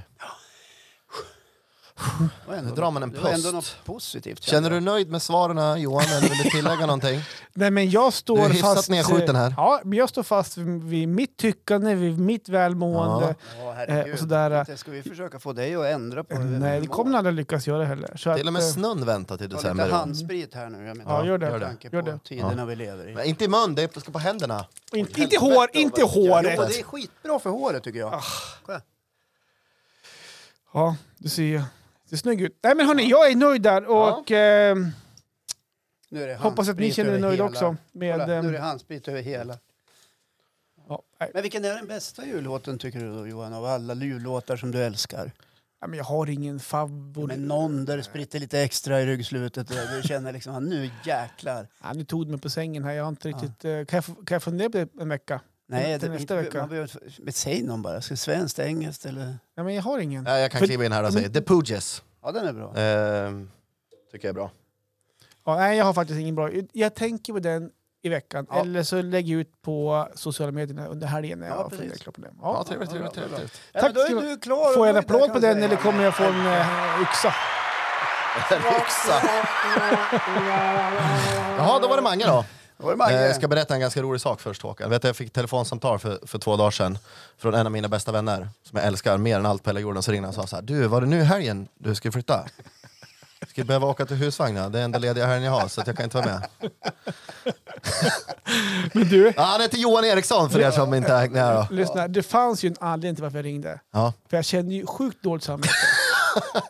[SPEAKER 1] Det var ändå
[SPEAKER 3] Nu drar man en
[SPEAKER 1] något- Det var ändå
[SPEAKER 3] pust.
[SPEAKER 1] något positivt.
[SPEAKER 3] Känner du
[SPEAKER 1] jag.
[SPEAKER 3] dig nöjd med svaren här, Johan? Eller vill du tillägga någonting?
[SPEAKER 2] Nej, men jag
[SPEAKER 3] Du är
[SPEAKER 2] står
[SPEAKER 3] hyfsat
[SPEAKER 2] fast...
[SPEAKER 3] nedskjuten här.
[SPEAKER 2] Ja, men jag står fast vid, vid mitt tyckande, vid mitt välmående.
[SPEAKER 1] Ja, herregud.
[SPEAKER 2] Eh, och sådär.
[SPEAKER 1] Inte ska vi försöka få dig att ändra på hur
[SPEAKER 2] Eh, Nej,
[SPEAKER 1] du
[SPEAKER 2] det
[SPEAKER 1] mår.
[SPEAKER 2] kommer ni aldrig lyckas göra heller. Så
[SPEAKER 3] Till och
[SPEAKER 2] att,
[SPEAKER 3] med
[SPEAKER 2] eh,
[SPEAKER 3] snön väntar till
[SPEAKER 1] Ta lite
[SPEAKER 3] december. Johan.
[SPEAKER 1] handsprit här nu. Jag menar,
[SPEAKER 2] Ja, gör det.
[SPEAKER 1] Med
[SPEAKER 3] Gör
[SPEAKER 1] tanke
[SPEAKER 2] Gör
[SPEAKER 1] på
[SPEAKER 2] det.
[SPEAKER 1] tiderna vi lever i.
[SPEAKER 3] Men inte i mun, det är- ska på händerna.
[SPEAKER 2] inte, inte hår, inte håret!
[SPEAKER 1] Jo, det är skitbra för håret tycker jag. Kolla.
[SPEAKER 2] Ja, du ser ju. Det är snygg ut. Nej men hörni, jag är nöjd där och eh,
[SPEAKER 1] Nu är det
[SPEAKER 2] hoppas att ni
[SPEAKER 1] handsprit
[SPEAKER 2] känner er
[SPEAKER 1] över
[SPEAKER 2] nöjda
[SPEAKER 1] hela.
[SPEAKER 2] också.
[SPEAKER 1] Kolla,
[SPEAKER 2] Med,
[SPEAKER 1] nu är det
[SPEAKER 2] eh,
[SPEAKER 1] handsprit över hela.
[SPEAKER 2] ja, nej.
[SPEAKER 1] Men vilken är den bästa jullåten tycker du då, Johan av alla jullåtar som du älskar?
[SPEAKER 2] ja, men jag har ingen favorit.
[SPEAKER 1] Men någon där det spritter lite extra i ryggslutet och du känner liksom, "Ah, nu jäklar.
[SPEAKER 2] Ja, nu tog du mig på sängen här. Jag har inte riktigt... eh, Kan jag, få- kan jag fundera på det en vecka?
[SPEAKER 1] Nej, det,
[SPEAKER 2] Till nästa
[SPEAKER 1] inte,
[SPEAKER 2] vecka.
[SPEAKER 1] man behöver, inte- men säg någon bara. Ska svenskt, engelskt eller?
[SPEAKER 2] Ja, men jag har ingen.
[SPEAKER 3] Ja, jag kan
[SPEAKER 2] För-
[SPEAKER 3] kliva in här och
[SPEAKER 1] Mm.
[SPEAKER 3] säga The Pooges.
[SPEAKER 1] Ja, den är bra.
[SPEAKER 3] Ehm, tycker jag är bra.
[SPEAKER 2] Ja, nej, jag har faktiskt ingen bra. Jag tänker på den i veckan.
[SPEAKER 1] Ja.
[SPEAKER 2] Eller så lägger jag ut på sociala medierna under helgen när
[SPEAKER 1] Ja,
[SPEAKER 2] jag har
[SPEAKER 1] precis.
[SPEAKER 2] funderat klart på det.
[SPEAKER 3] Ja,
[SPEAKER 2] Ja.
[SPEAKER 3] trevligt, trevligt,
[SPEAKER 1] bra, bra, bra.
[SPEAKER 3] trevligt.
[SPEAKER 1] Ja,
[SPEAKER 2] tack
[SPEAKER 1] men då
[SPEAKER 2] ska
[SPEAKER 1] är
[SPEAKER 2] du-
[SPEAKER 1] du klar. och
[SPEAKER 2] Får jag en
[SPEAKER 1] nöjd,
[SPEAKER 2] applåd
[SPEAKER 1] kan
[SPEAKER 2] på
[SPEAKER 1] jag
[SPEAKER 2] den
[SPEAKER 1] säga.
[SPEAKER 2] eller kommer jag få en eh, yxa?
[SPEAKER 3] Ryxa. Jaha, då var det Mange då.
[SPEAKER 1] Då var det Mange.
[SPEAKER 3] Eh, Jag ska berätta en ganska rolig sak först Håkan. Vet du, jag fick telefonsamtal för, för två dagar sedan från en av mina bästa vänner som jag älskar mer än allt på hela jorden. Så ringde han och sa så här, du var det nu i helgen du ska flytta? Jag ska behöva åka till husvagnen, det är enda lediga helgen jag har så att jag kan inte vara med.
[SPEAKER 2] Men du,
[SPEAKER 3] Ja, han heter Johan Eriksson för er som inte har hängt med då.
[SPEAKER 2] lyssna. Det fanns ju en anledning till varför jag ringde.
[SPEAKER 3] Ja.
[SPEAKER 2] För jag kände ju sjukt dåligt samvete.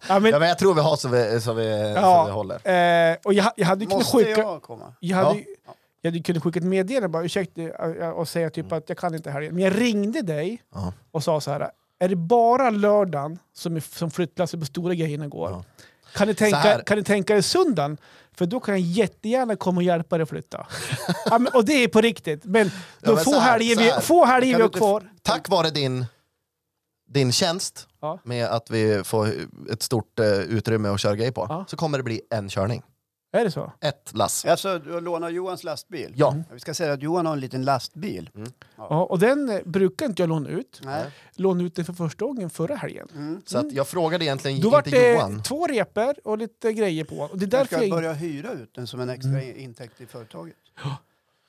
[SPEAKER 2] ja, men,
[SPEAKER 3] Ja, men jag tror vi har så vi, så vi, så vi håller.
[SPEAKER 2] eh, och jag, jag hade ju kunnat
[SPEAKER 1] Måste
[SPEAKER 2] skicka...
[SPEAKER 1] jag komma?
[SPEAKER 2] Jag hade,
[SPEAKER 3] Ja.
[SPEAKER 2] ju- jag hade ju kunnat skicka ett meddelande bara, ursäkta, eh, och säga typ
[SPEAKER 3] Mm.
[SPEAKER 2] att jag kan inte här Men jag ringde dig
[SPEAKER 3] Ja.
[SPEAKER 2] och sa så här, är det bara lördagen som, är- som flyttlasset på stora grejerna går?
[SPEAKER 3] Ja.
[SPEAKER 2] Kan, du
[SPEAKER 3] Så
[SPEAKER 2] tänka,
[SPEAKER 3] här.
[SPEAKER 2] kan du tänka dig söndagen? För då kan jag jättegärna komma och hjälpa dig att flytta. ja, men, och det är på riktigt. Men
[SPEAKER 3] Ja,
[SPEAKER 2] de
[SPEAKER 3] men
[SPEAKER 2] få
[SPEAKER 3] så här,
[SPEAKER 2] helger
[SPEAKER 3] så
[SPEAKER 2] vi,
[SPEAKER 3] här.
[SPEAKER 2] få helger vi
[SPEAKER 1] Kan
[SPEAKER 2] har
[SPEAKER 1] du inte-
[SPEAKER 2] kvar.
[SPEAKER 3] Tack vare din, din tjänst
[SPEAKER 2] Ja.
[SPEAKER 3] med att vi får ett stort eh, utrymme att köra grejer på
[SPEAKER 2] Ja.
[SPEAKER 3] så kommer det bli en körning.
[SPEAKER 2] Är det så?
[SPEAKER 3] Ett lass.
[SPEAKER 1] Alltså, du lånar Johans lastbil?
[SPEAKER 3] Ja.
[SPEAKER 2] Mm.
[SPEAKER 1] Vi ska säga att Johan har en liten lastbil.
[SPEAKER 2] Ja, och den eh, brukar inte jag låna ut.
[SPEAKER 1] Nej.
[SPEAKER 2] Lånade ut den för första gången förra helgen.
[SPEAKER 1] Mm.
[SPEAKER 3] Så att jag frågade egentligen
[SPEAKER 2] Då var
[SPEAKER 3] inte
[SPEAKER 2] det
[SPEAKER 3] Johan.
[SPEAKER 2] två repor och lite grejer på. Och det är
[SPEAKER 1] Du
[SPEAKER 2] därför
[SPEAKER 1] ska
[SPEAKER 2] jag... Mm.
[SPEAKER 1] börja hyra ut den som en extra intäkt till företaget.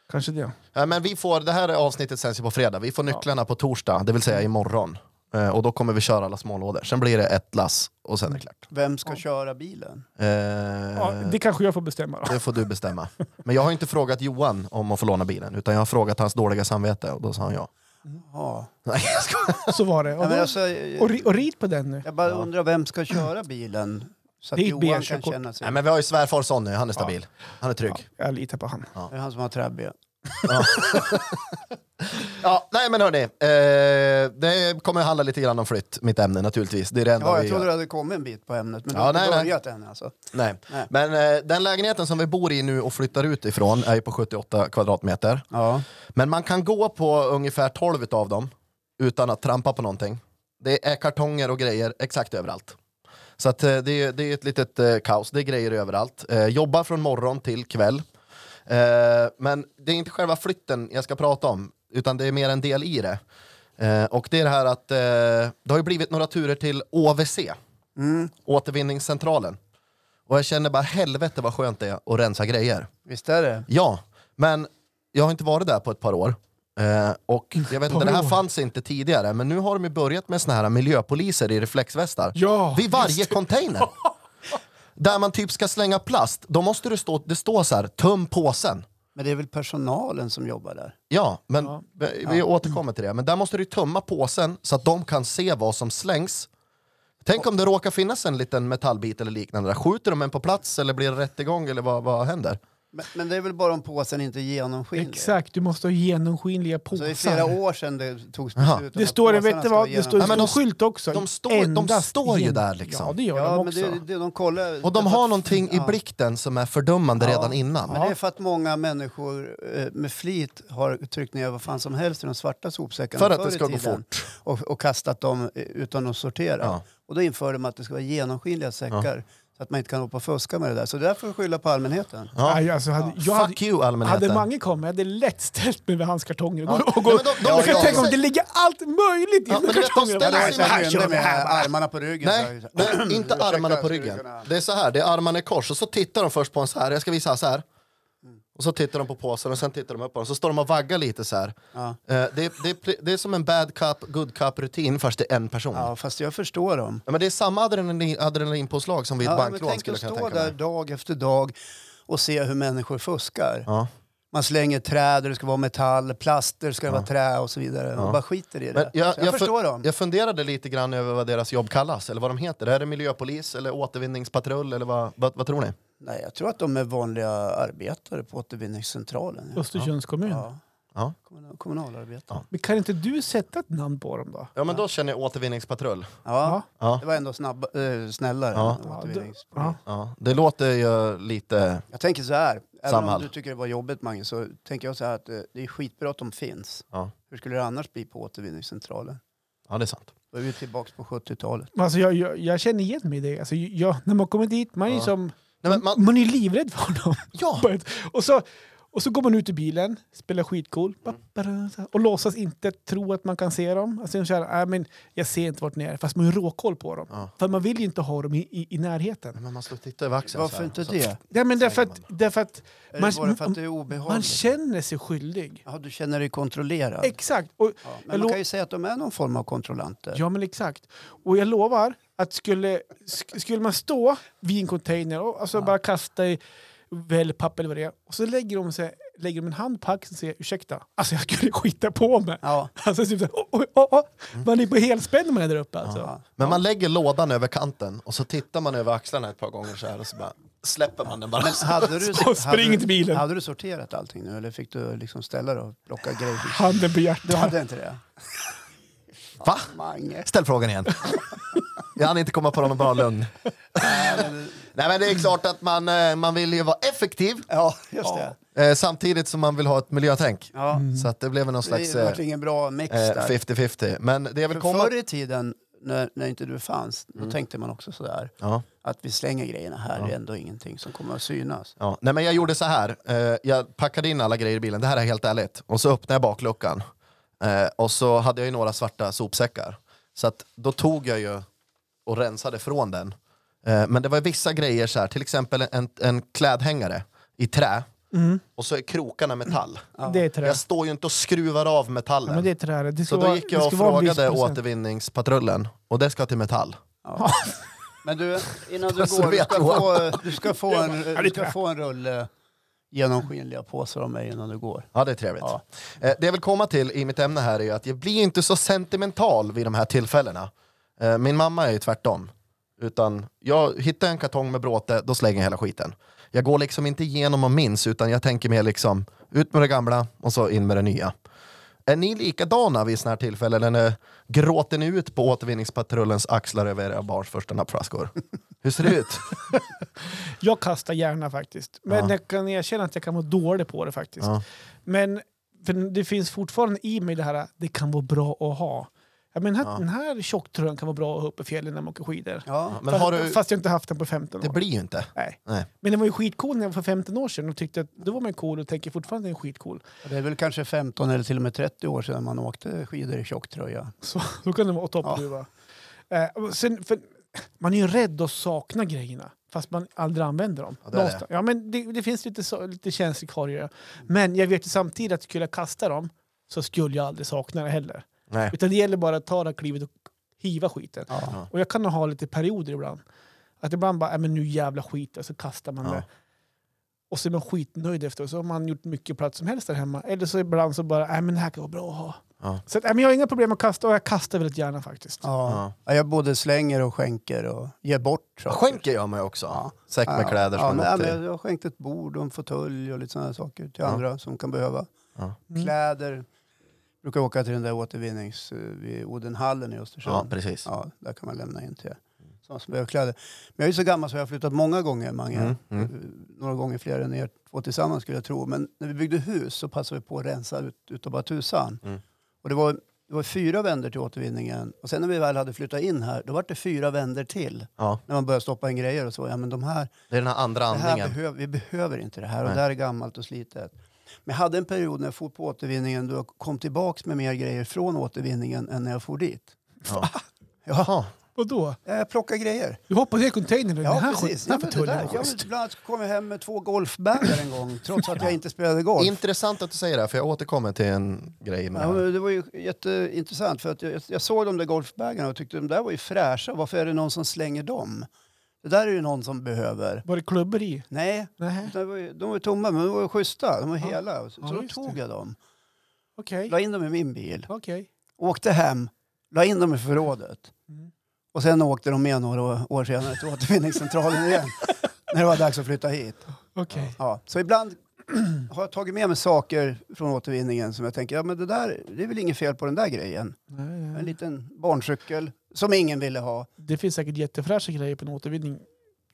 [SPEAKER 2] Kanske det.
[SPEAKER 3] Ja, men vi får, det här avsnittet sänds ju på fredag. Vi får nycklarna på torsdag, det vill säga imorgon. Eh, och då kommer vi köra alla smålådor. Sen blir det ett lass och sen är det klart.
[SPEAKER 1] Vem ska köra bilen?
[SPEAKER 3] Eh,
[SPEAKER 2] Ja, det kanske jag får bestämma då.
[SPEAKER 3] Det får du bestämma. Men jag har inte frågat Johan om att få låna bilen, utan jag har frågat hans dåliga samvete och då sa han ja.
[SPEAKER 2] Typ.
[SPEAKER 1] Ja.
[SPEAKER 3] Nej, jag skojar.
[SPEAKER 2] Så var det.
[SPEAKER 1] Ja,
[SPEAKER 2] Och,
[SPEAKER 1] men
[SPEAKER 2] då,
[SPEAKER 1] alltså, eh,
[SPEAKER 2] och, ri- och rid på den nu.
[SPEAKER 1] jag bara undrar, vem ska köra bilen? Så att
[SPEAKER 2] Det är ett
[SPEAKER 1] Johan kan
[SPEAKER 2] B-körkort.
[SPEAKER 1] känna sig...
[SPEAKER 3] Nej, men vi har ju svärfar Sonny, han är stabil. Han är
[SPEAKER 2] Ja,
[SPEAKER 3] trygg.
[SPEAKER 2] jag litar på han.
[SPEAKER 1] Det är han som har trabbiga.
[SPEAKER 3] Ja, nej men hörni, eh, det kommer handla lite grann om flytt, mitt ämne naturligtvis. Det är det enda
[SPEAKER 1] Ja, jag
[SPEAKER 3] vi
[SPEAKER 1] trodde
[SPEAKER 3] gör.
[SPEAKER 1] du hade kommit en bit på ämnet, men du
[SPEAKER 3] Ja,
[SPEAKER 1] har inte
[SPEAKER 3] nej, nej.
[SPEAKER 1] börjat än alltså.
[SPEAKER 3] Nej.
[SPEAKER 1] Nej.
[SPEAKER 3] Men eh, den lägenheten som vi bor i nu och flyttar ut ifrån är ju på 78 kvadratmeter.
[SPEAKER 1] Ja.
[SPEAKER 3] Men man kan gå på ungefär 12 av dem utan att trampa på någonting. Det är kartonger och grejer exakt överallt. Så att, eh, det, är, det är ett litet eh, kaos, det är grejer överallt. Eh, jobba från morgon till kväll. Eh, men det är inte själva flytten jag ska prata om, utan det är mer en del i det. Eh, och det är det här att eh, det har ju blivit några turer till OVC, återvinningscentralen. Och jag känner bara helvete vad skönt det är att rensa grejer.
[SPEAKER 1] Visst är det?
[SPEAKER 3] Ja, men jag har inte varit där på ett par år. Eh, och jag vet inte, det här fanns inte tidigare, men nu har de ju börjat med såna här miljöpoliser i reflexvästar.
[SPEAKER 2] Ja,
[SPEAKER 3] Vid varje container. Där man typ ska slänga plast, då måste det stå, det står så här, töm påsen.
[SPEAKER 1] Men det är väl personalen som jobbar där?
[SPEAKER 3] Ja, men vi, vi återkommer till det. Men där måste du tömma påsen så att de kan se vad som slängs. Tänk om det råkar finnas en liten metallbit eller liknande. där. Skjuter de en på plats eller blir det rättegång eller vad, vad händer?
[SPEAKER 1] Men, men det är väl bara om påsen inte är genomskinlig?
[SPEAKER 2] Exakt, du måste ha genomskinliga
[SPEAKER 1] Så
[SPEAKER 3] Alltså,
[SPEAKER 1] det är flera
[SPEAKER 2] påsar.
[SPEAKER 1] år sedan det togs
[SPEAKER 3] Jaha.
[SPEAKER 1] beslut om
[SPEAKER 2] Det
[SPEAKER 1] att
[SPEAKER 2] står,
[SPEAKER 1] påsarna
[SPEAKER 2] vet du
[SPEAKER 1] ska
[SPEAKER 2] vad, det
[SPEAKER 1] genom-
[SPEAKER 2] står
[SPEAKER 3] Nej,
[SPEAKER 2] en
[SPEAKER 3] men de-
[SPEAKER 2] stor skylt också.
[SPEAKER 3] de står- de
[SPEAKER 2] Endast
[SPEAKER 3] står ju
[SPEAKER 2] gen-
[SPEAKER 3] där liksom.
[SPEAKER 2] Ja, det gör
[SPEAKER 1] Ja,
[SPEAKER 2] de
[SPEAKER 1] men
[SPEAKER 2] också.
[SPEAKER 1] det, det, de kollar...
[SPEAKER 3] Och de
[SPEAKER 1] därför
[SPEAKER 3] har
[SPEAKER 1] att-
[SPEAKER 3] någonting i
[SPEAKER 1] ja.
[SPEAKER 3] blikten som är fördömande redan innan.
[SPEAKER 1] Men det är för att många människor eh, med flit har tryckt ner vad fan som helst i de svarta sopsäckarna
[SPEAKER 3] För att
[SPEAKER 1] förr
[SPEAKER 3] det
[SPEAKER 1] i
[SPEAKER 3] ska gå
[SPEAKER 1] tiden
[SPEAKER 3] fort.
[SPEAKER 1] Och, och kastat dem eh, utan att sortera.
[SPEAKER 3] Ja.
[SPEAKER 1] Och då införde de att det ska vara genomskinliga säckar så att man inte kan hoppa och fuska med det där. Så det där får du skylla på allmänheten.
[SPEAKER 3] Ja.
[SPEAKER 2] Aj, alltså, hade, jag hade,
[SPEAKER 3] Fuck you allmänheten.
[SPEAKER 2] hade Mange kommit, jag hade lätt ställt mig vid hans kartonger. och gå- Och gå,
[SPEAKER 3] Nej, men de- de-
[SPEAKER 2] jag kan
[SPEAKER 3] ja,
[SPEAKER 2] tänka om
[SPEAKER 3] ja.
[SPEAKER 2] det ligger allt möjligt i
[SPEAKER 3] Ja, men du vet, de
[SPEAKER 2] kartongerna.
[SPEAKER 3] ställer
[SPEAKER 2] Bara,
[SPEAKER 3] sig med
[SPEAKER 2] här
[SPEAKER 1] Kände
[SPEAKER 2] kör vi,
[SPEAKER 1] med
[SPEAKER 2] här, bara.
[SPEAKER 1] armarna på ryggen.
[SPEAKER 3] Nej,
[SPEAKER 1] så här.
[SPEAKER 3] nej, inte armarna på
[SPEAKER 1] skulle du
[SPEAKER 3] ryggen.
[SPEAKER 1] kunna-
[SPEAKER 3] Det är så här, det är armarna i kors och så tittar de först på en så här. Jag ska visa så här.
[SPEAKER 1] Mm.
[SPEAKER 3] Och så tittar de på påsen och sen tittar de upp på den. Så står de och vaggar lite så här.
[SPEAKER 1] Ja.
[SPEAKER 3] Eh, Det, det, det är som en bad cup, good cup rutin fast det är en person. Ja.
[SPEAKER 1] Ja, fast jag förstår dem.
[SPEAKER 3] Men det är samma adrenalin, adrenalinpåslag som vid ett
[SPEAKER 1] Ja, men
[SPEAKER 3] bankrån
[SPEAKER 1] tänk
[SPEAKER 3] skulle
[SPEAKER 1] att
[SPEAKER 3] jag kunna
[SPEAKER 1] stå
[SPEAKER 3] tänka
[SPEAKER 1] där
[SPEAKER 3] mig.
[SPEAKER 1] dag efter dag och se hur människor fuskar.
[SPEAKER 3] Ja.
[SPEAKER 1] Man slänger träd, och det ska vara metall, plaster ska det vara trä och så vidare. Man bara skiter i det.
[SPEAKER 3] Men
[SPEAKER 1] Så jag, förstår dem.
[SPEAKER 3] Jag funderade lite grann över vad deras jobb kallas, eller vad de heter. Är det miljöpolis eller återvinningspatrull eller vad, vad, vad tror ni?
[SPEAKER 1] Nej, jag tror att de är vanliga arbetare på återvinningscentralen. Ja.
[SPEAKER 2] Östersunds kommun.
[SPEAKER 1] Ja.
[SPEAKER 3] Ja.
[SPEAKER 1] Kommunal, kommunalarbetare.
[SPEAKER 2] Men kan inte du sätta ett namn på dem då?
[SPEAKER 3] Ja men då känner jag återvinningspatrull.
[SPEAKER 1] Ja.
[SPEAKER 3] Ja.
[SPEAKER 1] Det var ändå snabb, eh, snällare.
[SPEAKER 3] Ja.
[SPEAKER 1] än
[SPEAKER 2] Ja,
[SPEAKER 1] återvinnings-
[SPEAKER 2] då- ja.
[SPEAKER 3] Ja. Det låter ju lite...
[SPEAKER 1] Jag tänker så här, även
[SPEAKER 3] Samhall.
[SPEAKER 1] om du tycker det var jobbigt Mange, så tänker jag så här att eh, det är skitbra att de finns.
[SPEAKER 3] Ja.
[SPEAKER 1] Hur skulle det annars bli på återvinningscentralen?
[SPEAKER 3] Ja det är sant.
[SPEAKER 1] Då är vi tillbaka på 70-talet.
[SPEAKER 2] Men Alltså, jag, jag, jag känner igen mig i det. Alltså, jag, när man kommer dit, man är ju
[SPEAKER 3] Ja.
[SPEAKER 2] som...
[SPEAKER 3] Nej, men man-
[SPEAKER 2] man är ju livrädd för dem.
[SPEAKER 3] Ja!
[SPEAKER 2] På ett- Och så, och så går man ut ur bilen, spelar
[SPEAKER 3] Mm.
[SPEAKER 2] skitcool ba- ba- så här, och låtsas inte tro att man kan se dem. Alltså, så här, äh, men jag ser inte vart ni är, fast man har ju råkoll på dem.
[SPEAKER 3] Ja.
[SPEAKER 2] För man vill ju inte ha dem i, i, i närheten.
[SPEAKER 3] Nej, Men man slår titta över axeln så
[SPEAKER 1] Varför
[SPEAKER 3] här.
[SPEAKER 1] inte
[SPEAKER 3] Så-
[SPEAKER 1] det?
[SPEAKER 2] Ja, men därför
[SPEAKER 3] Säger
[SPEAKER 2] att, därför att
[SPEAKER 1] Är
[SPEAKER 2] Man-
[SPEAKER 1] det bara för att det är obehagligt?
[SPEAKER 2] man känner sig skyldig.
[SPEAKER 1] ja, du känner dig kontrollerad?
[SPEAKER 2] Exakt. Och,
[SPEAKER 1] ja.
[SPEAKER 2] jag
[SPEAKER 1] Men man
[SPEAKER 2] lo-
[SPEAKER 1] kan ju säga att de är någon form av kontrollanter.
[SPEAKER 2] ja, men exakt. Och jag lovar att skulle, sk- skulle man stå vid en container och alltså bara kasta i wellpapp eller vad det är och så lägger de, sig, lägger de en hand på axeln och säger ursäkta, alltså jag skulle skita på mig.
[SPEAKER 1] Ja.
[SPEAKER 2] Alltså typ såhär, oh, oh, oh, oh.
[SPEAKER 3] Mm.
[SPEAKER 2] man är på helspänn när man är där uppe alltså.
[SPEAKER 1] Ja.
[SPEAKER 3] Men man lägger lådan över kanten och så tittar man över axlarna ett par gånger så här och så bara släpper man den bara.
[SPEAKER 1] Men hade du,
[SPEAKER 2] Och spring
[SPEAKER 1] hade,
[SPEAKER 2] till
[SPEAKER 1] du,
[SPEAKER 2] bilen.
[SPEAKER 1] hade du sorterat allting nu eller fick du liksom ställa dig och plocka grejer?
[SPEAKER 2] Handen på
[SPEAKER 1] Du
[SPEAKER 2] hjärtat.
[SPEAKER 1] hade inte det?
[SPEAKER 3] Va?
[SPEAKER 1] Mange.
[SPEAKER 3] Ställ frågan igen. Jag hann inte komma på någon bra lugn. Nej men det är klart att man, eh, man vill ju vara effektiv
[SPEAKER 1] Ja, just det.
[SPEAKER 3] eh, samtidigt som man vill ha ett miljötänk.
[SPEAKER 1] Ja.
[SPEAKER 3] Så att det blev väl någon
[SPEAKER 1] Det
[SPEAKER 3] Mm, slags
[SPEAKER 1] var
[SPEAKER 3] eh,
[SPEAKER 1] verkligen ingen bra mix
[SPEAKER 3] eh,
[SPEAKER 1] där.
[SPEAKER 3] 50-50. Men det jag vill
[SPEAKER 1] För
[SPEAKER 3] komma...
[SPEAKER 1] Förr i tiden, när, när inte du fanns, då tänkte man också sådär.
[SPEAKER 3] Ja.
[SPEAKER 1] Att vi slänger grejerna här, det är ändå ingenting som kommer att synas.
[SPEAKER 3] Ja. Nej, men jag gjorde så här. Eh, jag packade in alla grejer i bilen, det här är helt ärligt. Och så öppnade jag bakluckan. Eh, och så hade jag ju några svarta sopsäckar. Så att då tog jag ju och rensade från den. Eh, men det var vissa grejer så här, till exempel en, en klädhängare i trä. Och så är krokarna metall.
[SPEAKER 2] Det Mm. är trä.
[SPEAKER 3] Jag står ju inte och skruvar av metallen.
[SPEAKER 2] Ja, men det är trä. Det ska
[SPEAKER 3] så då
[SPEAKER 2] vara-
[SPEAKER 3] gick
[SPEAKER 2] det
[SPEAKER 3] jag och
[SPEAKER 2] ska vara en viss
[SPEAKER 3] frågade
[SPEAKER 2] procent.
[SPEAKER 3] återvinningspatrullen. Och det ska till metall.
[SPEAKER 1] Ja. Men du, innan du
[SPEAKER 3] Så
[SPEAKER 1] går, du
[SPEAKER 3] vet
[SPEAKER 1] ska,
[SPEAKER 3] Johan.
[SPEAKER 1] få, du ska få en, du ska
[SPEAKER 2] trä.
[SPEAKER 1] få en rulle genomskinliga påsar av mig innan du går.
[SPEAKER 3] Ja, det är trevligt.
[SPEAKER 1] Ja.
[SPEAKER 3] Eh, det jag vill komma till i mitt ämne här är ju att jag blir inte så sentimental vid de här tillfällena. Eh, min mamma är ju tvärtom. Utan jag hittar en kartong med bråte, då slänger jag hela skiten. Jag går liksom inte igenom och minns, utan jag tänker mer liksom ut med det gamla och så in med det nya. Är ni likadana vid sådana här tillfällen? Eller gråter ni ut på återvinningspatrullens axlar över era barns första nappflaskor? Hur ser det ut?
[SPEAKER 2] Jag kastar gärna faktiskt. Men
[SPEAKER 3] Ja.
[SPEAKER 2] jag kan erkänna att jag kan vara dålig på det faktiskt.
[SPEAKER 3] Ja.
[SPEAKER 2] Men för det finns fortfarande i mig det här det kan vara bra att ha. Ja, men den, här, den här tjocktröjan kan vara bra att ha uppe i fjällen när man åker skidor.
[SPEAKER 1] Ja.
[SPEAKER 3] Men
[SPEAKER 2] fast,
[SPEAKER 3] har du...
[SPEAKER 2] fast jag inte haft den på 15 år.
[SPEAKER 3] Det blir ju inte.
[SPEAKER 2] Nej.
[SPEAKER 3] Nej.
[SPEAKER 2] Men den var ju skitcool när jag var för 15 år sedan och tyckte att då var man cool och tänker fortfarande att den är skitcool.
[SPEAKER 1] Det är väl kanske 15 eller till och med 30 år sedan man åkte skidor i tjocktröja.
[SPEAKER 2] Så då kan det vara toppduva. Eh, och sen, för, man är ju rädd att sakna grejerna fast man aldrig använder dem.
[SPEAKER 3] Ja, det Mm. är det.
[SPEAKER 2] Någonstans. Ja, men det, det finns lite, så, lite känslor kvar i det. Men jag vet ju samtidigt att skulle jag kasta dem så skulle jag aldrig sakna det heller.
[SPEAKER 3] Nej.
[SPEAKER 2] Utan det gäller bara att ta det här klivet och hiva skiten.
[SPEAKER 1] Ja.
[SPEAKER 2] Och jag kan ha lite perioder ibland. Att ibland bara, "Nej, men nu jävla skit, och så kastar man
[SPEAKER 3] Ja.
[SPEAKER 2] det. Och så är man skitnöjd efter så har man gjort mycket plats som helst där hemma. Eller så ibland så bara, nej men det här kan vara bra att ha.
[SPEAKER 3] Ja.
[SPEAKER 2] Så att, nej, men jag har inga problem att kasta och jag kastar väldigt gärna faktiskt.
[SPEAKER 1] Ja. Ja. Jag både slänger och skänker och ger bort. saker.
[SPEAKER 3] Skänker gör man ju också. Säck med kläder
[SPEAKER 1] ja,
[SPEAKER 3] som
[SPEAKER 1] men,
[SPEAKER 3] man
[SPEAKER 1] ja,
[SPEAKER 3] gått i.
[SPEAKER 1] men Jag har skänkt ett bord och en fåtölj och lite sådana saker till
[SPEAKER 3] Ja.
[SPEAKER 1] andra som kan behöva.
[SPEAKER 3] Ja.
[SPEAKER 1] Kläder. Brukar åka till den där återvinnings... eh, vid Odenhallen i
[SPEAKER 3] Ja,
[SPEAKER 1] Östersund. Ja,
[SPEAKER 3] precis.
[SPEAKER 1] där kan man lämna in till
[SPEAKER 3] Mm.
[SPEAKER 1] sådana som behöver kläder. Men jag är så gammal så jag har flyttat många gånger, Mange.
[SPEAKER 3] Mm, mm.
[SPEAKER 1] Eh, Några gånger fler än er två tillsammans skulle jag tro. Men när vi byggde hus så passade vi på att rensa ut utav bara tusan.
[SPEAKER 3] Mm.
[SPEAKER 1] Och det var, det var fyra vänder till återvinningen. Och sen när vi väl hade flyttat in här, då var det fyra vänder till.
[SPEAKER 3] Ja.
[SPEAKER 1] När man började stoppa in grejer och så. Ja, men de här,
[SPEAKER 3] Det är den här andra
[SPEAKER 1] det här
[SPEAKER 3] andningen.
[SPEAKER 1] behöver, vi behöver inte det här och
[SPEAKER 3] Nej.
[SPEAKER 1] det här är gammalt och slitet. Men jag hade en period när jag for på återvinningen då jag kom tillbaks med mer grejer från återvinningen än när jag for dit.
[SPEAKER 3] Ja.
[SPEAKER 1] Ja,
[SPEAKER 2] Och då?
[SPEAKER 1] jag plockade grejer.
[SPEAKER 2] Du hoppar ner i containern. den
[SPEAKER 1] Ja,
[SPEAKER 2] här
[SPEAKER 1] precis.
[SPEAKER 2] skiten, den
[SPEAKER 1] Ja, men
[SPEAKER 2] här
[SPEAKER 1] det
[SPEAKER 2] förtullar
[SPEAKER 1] där.
[SPEAKER 2] jag
[SPEAKER 1] Jag,
[SPEAKER 2] schysst.
[SPEAKER 1] bland annat kom jag hem med två golfbägar en gång trots att jag inte spelade golf.
[SPEAKER 3] Intressant att du säger det, här, för jag återkommer till en grej med
[SPEAKER 1] Ja,
[SPEAKER 3] det här.
[SPEAKER 1] men det var ju jätteintressant för att jag, jag såg de där golfbägarna och tyckte de där var ju fräscha. Varför är det någon som slänger dem? Det där är ju någon som behöver.
[SPEAKER 2] Var det klubbor i?
[SPEAKER 1] Nej,
[SPEAKER 2] Nej,
[SPEAKER 1] de var, ju- de var ju tomma men de var ju schyssta. De var hela. Så,
[SPEAKER 2] Ja,
[SPEAKER 1] så då
[SPEAKER 2] just
[SPEAKER 1] tog
[SPEAKER 2] det.
[SPEAKER 1] jag dem.
[SPEAKER 2] okej.
[SPEAKER 1] La in dem i min bil.
[SPEAKER 2] Okej.
[SPEAKER 1] Åkte hem, la in dem i förrådet.
[SPEAKER 2] Mm.
[SPEAKER 1] Och sen åkte de med några år senare till återvinningscentralen igen. när det var dags att flytta hit.
[SPEAKER 2] Okej.
[SPEAKER 1] Ja. Så ibland har jag tagit med mig saker från återvinningen som jag tänker, ja men det där, det är väl inget fel på den där grejen.
[SPEAKER 2] Nej, nej.
[SPEAKER 1] En liten barncykel som ingen ville ha.
[SPEAKER 2] Det finns säkert jättefräscha grejer på en återvinning.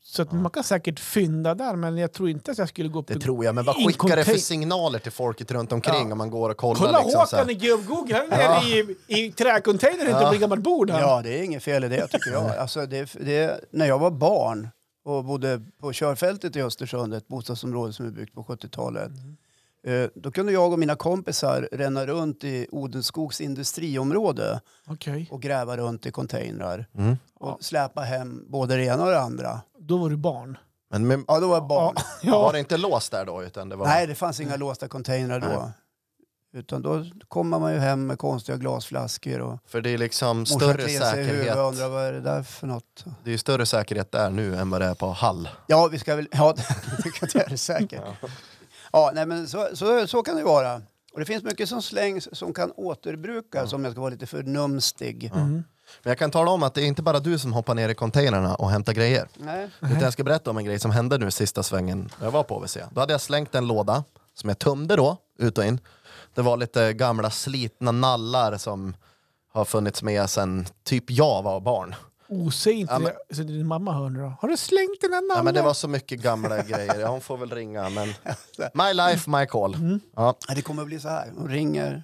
[SPEAKER 2] Så att man kan säkert fynda där, men jag tror inte att jag skulle gå upp
[SPEAKER 3] Det
[SPEAKER 2] och-
[SPEAKER 3] tror jag, men vad
[SPEAKER 2] I
[SPEAKER 3] skickar det för
[SPEAKER 2] contain-
[SPEAKER 3] signaler till folket runt omkring
[SPEAKER 2] Ja.
[SPEAKER 3] om man går och kollar?
[SPEAKER 2] Kolla
[SPEAKER 3] liksom, så här?
[SPEAKER 2] Håkan i Gubb-Google, han är nere i, i träcontainern inte på ett gammalt bord. Han.
[SPEAKER 1] Ja, det är inget fel i det tycker jag. Alltså, det, det, när jag var barn och bodde på körfältet i Östersund, ett bostadsområde som är byggt på 70-talet, eh, då kunde jag och mina kompisar ränna runt i Odenskogs industriområde
[SPEAKER 2] Okej,
[SPEAKER 1] och gräva runt i containrar
[SPEAKER 3] Mm.
[SPEAKER 1] och släpa hem både det ena och det andra.
[SPEAKER 2] då var du barn.
[SPEAKER 3] Men, men
[SPEAKER 1] Ja, då var jag barn.
[SPEAKER 3] var
[SPEAKER 2] Ja.
[SPEAKER 3] det inte låst där då? Utan det var...
[SPEAKER 1] Nej, det fanns inga låsta containrar då. Utan då kommer man ju hem med konstiga glasflaskor och
[SPEAKER 3] För det är liksom
[SPEAKER 1] morsan
[SPEAKER 3] större
[SPEAKER 1] kliar sig i huvudet
[SPEAKER 3] säkerhet.
[SPEAKER 1] och undrar vad är det där för något.
[SPEAKER 3] Det är ju större säkerhet där nu än vad det är på Hall.
[SPEAKER 1] Ja, vi ska väl... Ja, det kan jag göra säkert. Ja, nej, men så, så, så kan det vara. Och det finns mycket som slängs som kan återbrukas om jag ska vara lite förnumstig.
[SPEAKER 2] Mm.
[SPEAKER 3] Men jag kan tala om att det är inte bara du som hoppar ner i containrarna och hämtar grejer.
[SPEAKER 1] Nej.
[SPEAKER 3] Utan jag ska berätta om en grej som hände nu sista svängen jag var på OVC. Då hade jag slängt en låda som jag tömde då, ut och in. Det var lite gamla slitna nallar som har funnits med sedan typ jag var barn.
[SPEAKER 2] Oh, säg inte
[SPEAKER 3] Ja, men-
[SPEAKER 2] det så din mamma hör nu då. Har du slängt den här
[SPEAKER 3] Ja,
[SPEAKER 2] nallen?
[SPEAKER 3] men det var så mycket gamla grejer. Ja, Hon får väl ringa, men...
[SPEAKER 1] Alltså.
[SPEAKER 3] My life, my call.
[SPEAKER 1] Mm.
[SPEAKER 3] Ja.
[SPEAKER 1] Ja, Det kommer att bli så här. Hon ringer.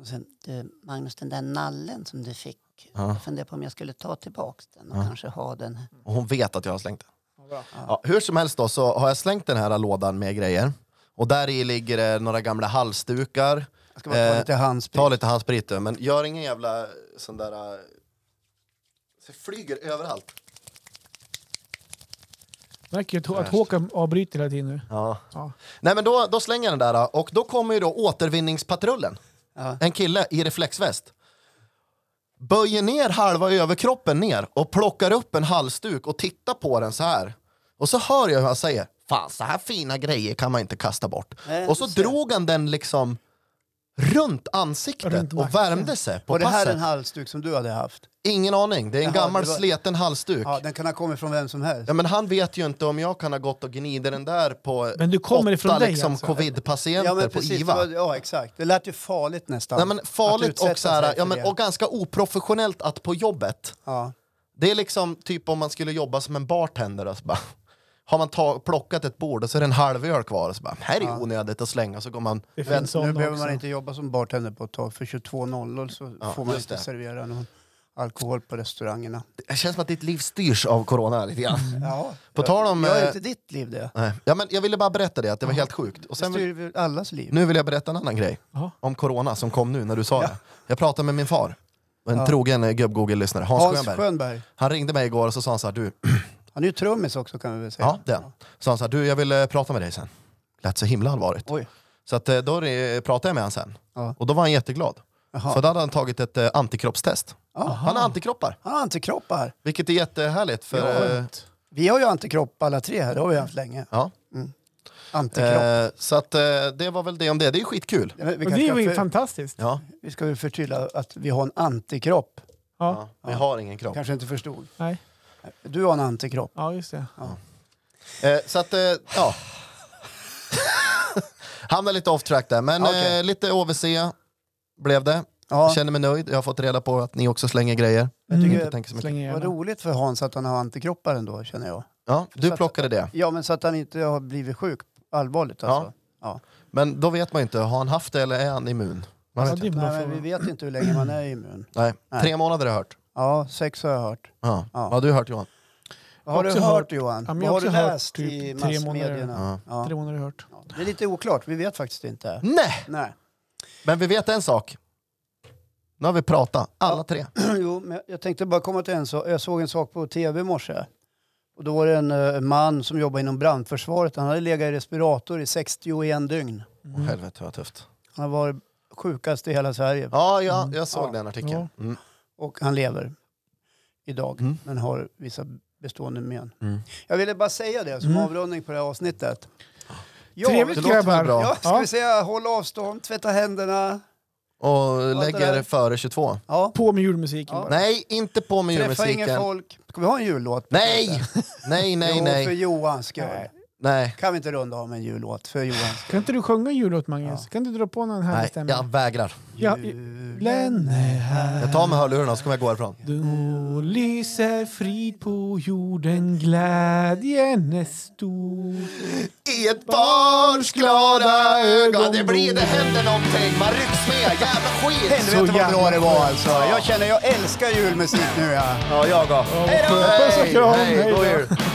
[SPEAKER 1] Och sen,
[SPEAKER 4] Du, Magnus, den där nallen som du fick.
[SPEAKER 3] Ja.
[SPEAKER 4] Jag funderar på om jag skulle ta tillbaka den och kanske ha den.
[SPEAKER 3] Och hon vet att jag har slängt den.
[SPEAKER 2] Ja, bra.
[SPEAKER 3] Ja, hur som helst då så har jag slängt den här lådan med grejer. Och där i ligger det några gamla halsdukar.
[SPEAKER 1] jag ska bara ta
[SPEAKER 3] Eh,
[SPEAKER 1] lite handsprit.
[SPEAKER 3] Ta lite handsprit du, men gör ingen jävla sån där... eh, Så det flyger överallt.
[SPEAKER 2] Märker ju att, att Håkan avbryter hela tiden nu.
[SPEAKER 3] Ja.
[SPEAKER 2] Ja.
[SPEAKER 3] Nej men då, då slänger jag den där äh, och då kommer ju då återvinningspatrullen.
[SPEAKER 1] Ja.
[SPEAKER 3] En kille i reflexväst. Böjer ner halva överkroppen ner och plockar upp en halsduk och tittar på den så här. Och så hör jag hur han säger, fan så här fina grejer kan man inte kasta bort.
[SPEAKER 1] Nej,
[SPEAKER 3] och så
[SPEAKER 1] du ser.
[SPEAKER 3] drog han den liksom runt ansiktet
[SPEAKER 2] Runt
[SPEAKER 3] och
[SPEAKER 2] nacken.
[SPEAKER 3] värmde sig på
[SPEAKER 1] Var det här
[SPEAKER 3] passet.
[SPEAKER 1] en halsduk som du hade haft?
[SPEAKER 3] Ingen aning, det är en
[SPEAKER 1] Jaha,
[SPEAKER 3] gammal
[SPEAKER 1] det var-
[SPEAKER 3] sleten halsduk.
[SPEAKER 1] Ja, den kan ha kommit från vem som helst.
[SPEAKER 3] Ja, men han vet ju inte om jag kan ha gått och gnidit den där på
[SPEAKER 2] Men du kommer
[SPEAKER 3] åtta
[SPEAKER 2] ifrån dig,
[SPEAKER 3] liksom,
[SPEAKER 2] alltså?
[SPEAKER 3] covid-patienter
[SPEAKER 1] Ja, men
[SPEAKER 3] på
[SPEAKER 1] precis.
[SPEAKER 3] IVA.
[SPEAKER 1] Det var- Ja, exakt. Det lät ju farligt nästan.
[SPEAKER 3] Nej, men
[SPEAKER 1] Att
[SPEAKER 3] farligt
[SPEAKER 1] utsätta
[SPEAKER 3] och, så här,
[SPEAKER 1] sig för
[SPEAKER 3] ja, men,
[SPEAKER 1] det.
[SPEAKER 3] och ganska oprofessionellt att på jobbet.
[SPEAKER 1] Ja.
[SPEAKER 3] Det är liksom typ om man skulle jobba som en bartender och så bara, har man ta, plockat ett bord och så är det en halv öl kvar och så bara, här är
[SPEAKER 1] Ja.
[SPEAKER 3] onödigt att slänga och så går man
[SPEAKER 2] Det
[SPEAKER 1] Men
[SPEAKER 2] finns sådana
[SPEAKER 1] nu behöver
[SPEAKER 2] också.
[SPEAKER 1] man inte jobba som bartender på ett tag. För 22.00 så
[SPEAKER 3] Ja,
[SPEAKER 1] får man
[SPEAKER 3] just
[SPEAKER 1] inte
[SPEAKER 3] det.
[SPEAKER 1] servera någon alkohol på restaurangerna.
[SPEAKER 3] Det känns som att ditt liv styrs av corona lite grann.
[SPEAKER 1] Ja.
[SPEAKER 3] På tal om...
[SPEAKER 1] Mm. Jag är
[SPEAKER 3] eh,
[SPEAKER 1] inte ditt liv det.
[SPEAKER 3] nej. Ja, men jag ville bara berätta det, att det var helt sjukt. Och
[SPEAKER 1] Det
[SPEAKER 3] sen,
[SPEAKER 1] styr väl allas liv.
[SPEAKER 3] nu vill jag berätta en annan grej.
[SPEAKER 2] Ja.
[SPEAKER 3] om corona som kom nu när du sa det. Jag pratade med min far, en
[SPEAKER 1] Ja.
[SPEAKER 3] trogen eh, gubb-Google-lyssnare, Hans,
[SPEAKER 1] Hans
[SPEAKER 3] Schönberg.
[SPEAKER 1] Schönberg.
[SPEAKER 3] Han ringde mig igår och så sa han så här, du,
[SPEAKER 1] Han är ju trummis också kan vi väl säga.
[SPEAKER 3] ja, den. Så han sa, du jag vill eh, prata med dig sen. Lät så himla allvarligt.
[SPEAKER 1] Oj.
[SPEAKER 3] Så att, eh, då eh, pratade jag med honom sen.
[SPEAKER 1] Ja.
[SPEAKER 3] Och då var han jätteglad.
[SPEAKER 1] Jaha.
[SPEAKER 3] För då hade han tagit ett eh, antikroppstest. Han har antikroppar,
[SPEAKER 1] Han har antikroppar.
[SPEAKER 3] vilket är jättehärligt. För, eh,
[SPEAKER 2] Skönt.
[SPEAKER 1] Vi har ju antikropp alla tre här. Det har vi haft länge.
[SPEAKER 3] ja.
[SPEAKER 1] Antikropp.
[SPEAKER 3] eh, så att, eh, det var väl det om det. Det är skitkul.
[SPEAKER 1] Ja, men vi,
[SPEAKER 2] Men
[SPEAKER 1] kanske
[SPEAKER 2] det är
[SPEAKER 1] ska
[SPEAKER 2] ju
[SPEAKER 1] för-
[SPEAKER 2] fantastiskt.
[SPEAKER 3] Ja.
[SPEAKER 1] vi ska väl förtydliga att vi har en antikropp.
[SPEAKER 2] Ja.
[SPEAKER 3] Vi har ingen kropp.
[SPEAKER 1] Kanske inte förstod.
[SPEAKER 2] Nej.
[SPEAKER 1] Du har en antikropp.
[SPEAKER 2] ja, just det.
[SPEAKER 3] Eh, så att, eh, ja. Hamnar lite off track där, men
[SPEAKER 1] Okej.
[SPEAKER 3] eh, lite OVC blev det.
[SPEAKER 1] Ja,
[SPEAKER 3] Känner mig nöjd. Jag har fått reda på att ni också slänger grejer.
[SPEAKER 1] jag
[SPEAKER 2] Mm.
[SPEAKER 1] tycker
[SPEAKER 3] Jag tänker så mycket.
[SPEAKER 2] Släng
[SPEAKER 1] det var
[SPEAKER 2] igen.
[SPEAKER 1] roligt för Hans att han har antikroppar ändå känner jag.
[SPEAKER 3] Ja, du
[SPEAKER 1] Så att-
[SPEAKER 3] plockade det.
[SPEAKER 1] Ja, men så att han inte har blivit sjuk allvarligt alltså. Ja.
[SPEAKER 3] Men då vet man ju inte, har han haft det eller är han immun? Man
[SPEAKER 2] Ja,
[SPEAKER 3] vet
[SPEAKER 2] det är
[SPEAKER 3] inte.
[SPEAKER 2] en bra
[SPEAKER 1] Nej, men vi
[SPEAKER 2] fråga.
[SPEAKER 1] vet inte hur länge man är immun.
[SPEAKER 3] Nej.
[SPEAKER 1] Nej.
[SPEAKER 3] Tre månader har jag hört.
[SPEAKER 1] Ja, sex har jag hört.
[SPEAKER 3] Ja.
[SPEAKER 1] Ja.
[SPEAKER 3] Vad har du hört Johan?
[SPEAKER 1] Vad har du
[SPEAKER 2] Också
[SPEAKER 1] hört,
[SPEAKER 2] hört-
[SPEAKER 1] Johan?
[SPEAKER 2] Ja, men
[SPEAKER 1] Vad
[SPEAKER 2] jag
[SPEAKER 1] har
[SPEAKER 2] också
[SPEAKER 1] du
[SPEAKER 2] hört
[SPEAKER 1] läst
[SPEAKER 2] typ
[SPEAKER 1] i
[SPEAKER 2] tre
[SPEAKER 1] massmedierna?
[SPEAKER 2] månader.
[SPEAKER 1] Ja.
[SPEAKER 2] Tre månader har jag hört.
[SPEAKER 1] Ja. Det är lite oklart, vi vet faktiskt inte.
[SPEAKER 3] Nej!
[SPEAKER 1] Nej.
[SPEAKER 3] Men vi vet en sak. Nu har vi pratat, alla tre.
[SPEAKER 1] jo, men jag tänkte bara komma till en sak. Jag såg en sak på tv i morse. Och då var det en eh, man som jobbar inom brandförsvaret. Han hade legat i respirator i 61 dygn.
[SPEAKER 3] Åh, helvete vad tufft.
[SPEAKER 1] Han har varit sjukast i hela Sverige.
[SPEAKER 3] Ja, ja jag såg
[SPEAKER 1] Ja.
[SPEAKER 3] den artikeln. Mm.
[SPEAKER 1] Och han lever idag,
[SPEAKER 3] Mm.
[SPEAKER 1] men har vissa bestående men.
[SPEAKER 3] Mm.
[SPEAKER 1] Jag ville bara säga det som
[SPEAKER 2] Mm.
[SPEAKER 1] avrundning på det här avsnittet. Ja,
[SPEAKER 2] Trevligt
[SPEAKER 3] det låter väl
[SPEAKER 2] grabbar.
[SPEAKER 3] bra.
[SPEAKER 1] Ja, ska
[SPEAKER 2] Ja.
[SPEAKER 1] vi säga håll avstånd, tvätta händerna.
[SPEAKER 3] Och
[SPEAKER 1] det
[SPEAKER 3] lägger
[SPEAKER 1] där.
[SPEAKER 3] före 22.
[SPEAKER 1] Ja.
[SPEAKER 2] På med julmusiken
[SPEAKER 1] Ja.
[SPEAKER 2] bara.
[SPEAKER 3] Nej, inte på med
[SPEAKER 1] Träffa inget
[SPEAKER 3] julmusiken.
[SPEAKER 1] folk. Ska vi ha en jullåt?
[SPEAKER 3] Nej! Nej, nej,
[SPEAKER 1] jo, för
[SPEAKER 3] nej.
[SPEAKER 1] Johans skull.
[SPEAKER 3] Nej,
[SPEAKER 1] Kan vi inte runda av med en jullåt för Johan?
[SPEAKER 2] Kan inte du sjunga en jullåt, Magnus? Kan du dra på någon härlig
[SPEAKER 3] nej, jag
[SPEAKER 2] stämma?
[SPEAKER 3] vägrar.
[SPEAKER 2] Ja, Julen är här.
[SPEAKER 3] Jag tar med hörlurarna så kommer jag gå härifrån.
[SPEAKER 2] Då lyser frid på jorden, glädjen är stor.
[SPEAKER 3] I ett barns glada ögon Det blir, det händer någonting, man rycks med, jävla skit!
[SPEAKER 1] Helvete vad
[SPEAKER 2] jävla
[SPEAKER 1] bra det var alltså. Jag känner, jag älskar julmusik nu ja.
[SPEAKER 3] Ja, jag också.
[SPEAKER 1] Hej då!
[SPEAKER 2] Puss och kram,
[SPEAKER 3] hej,
[SPEAKER 2] hej
[SPEAKER 3] god
[SPEAKER 2] då.
[SPEAKER 3] jul!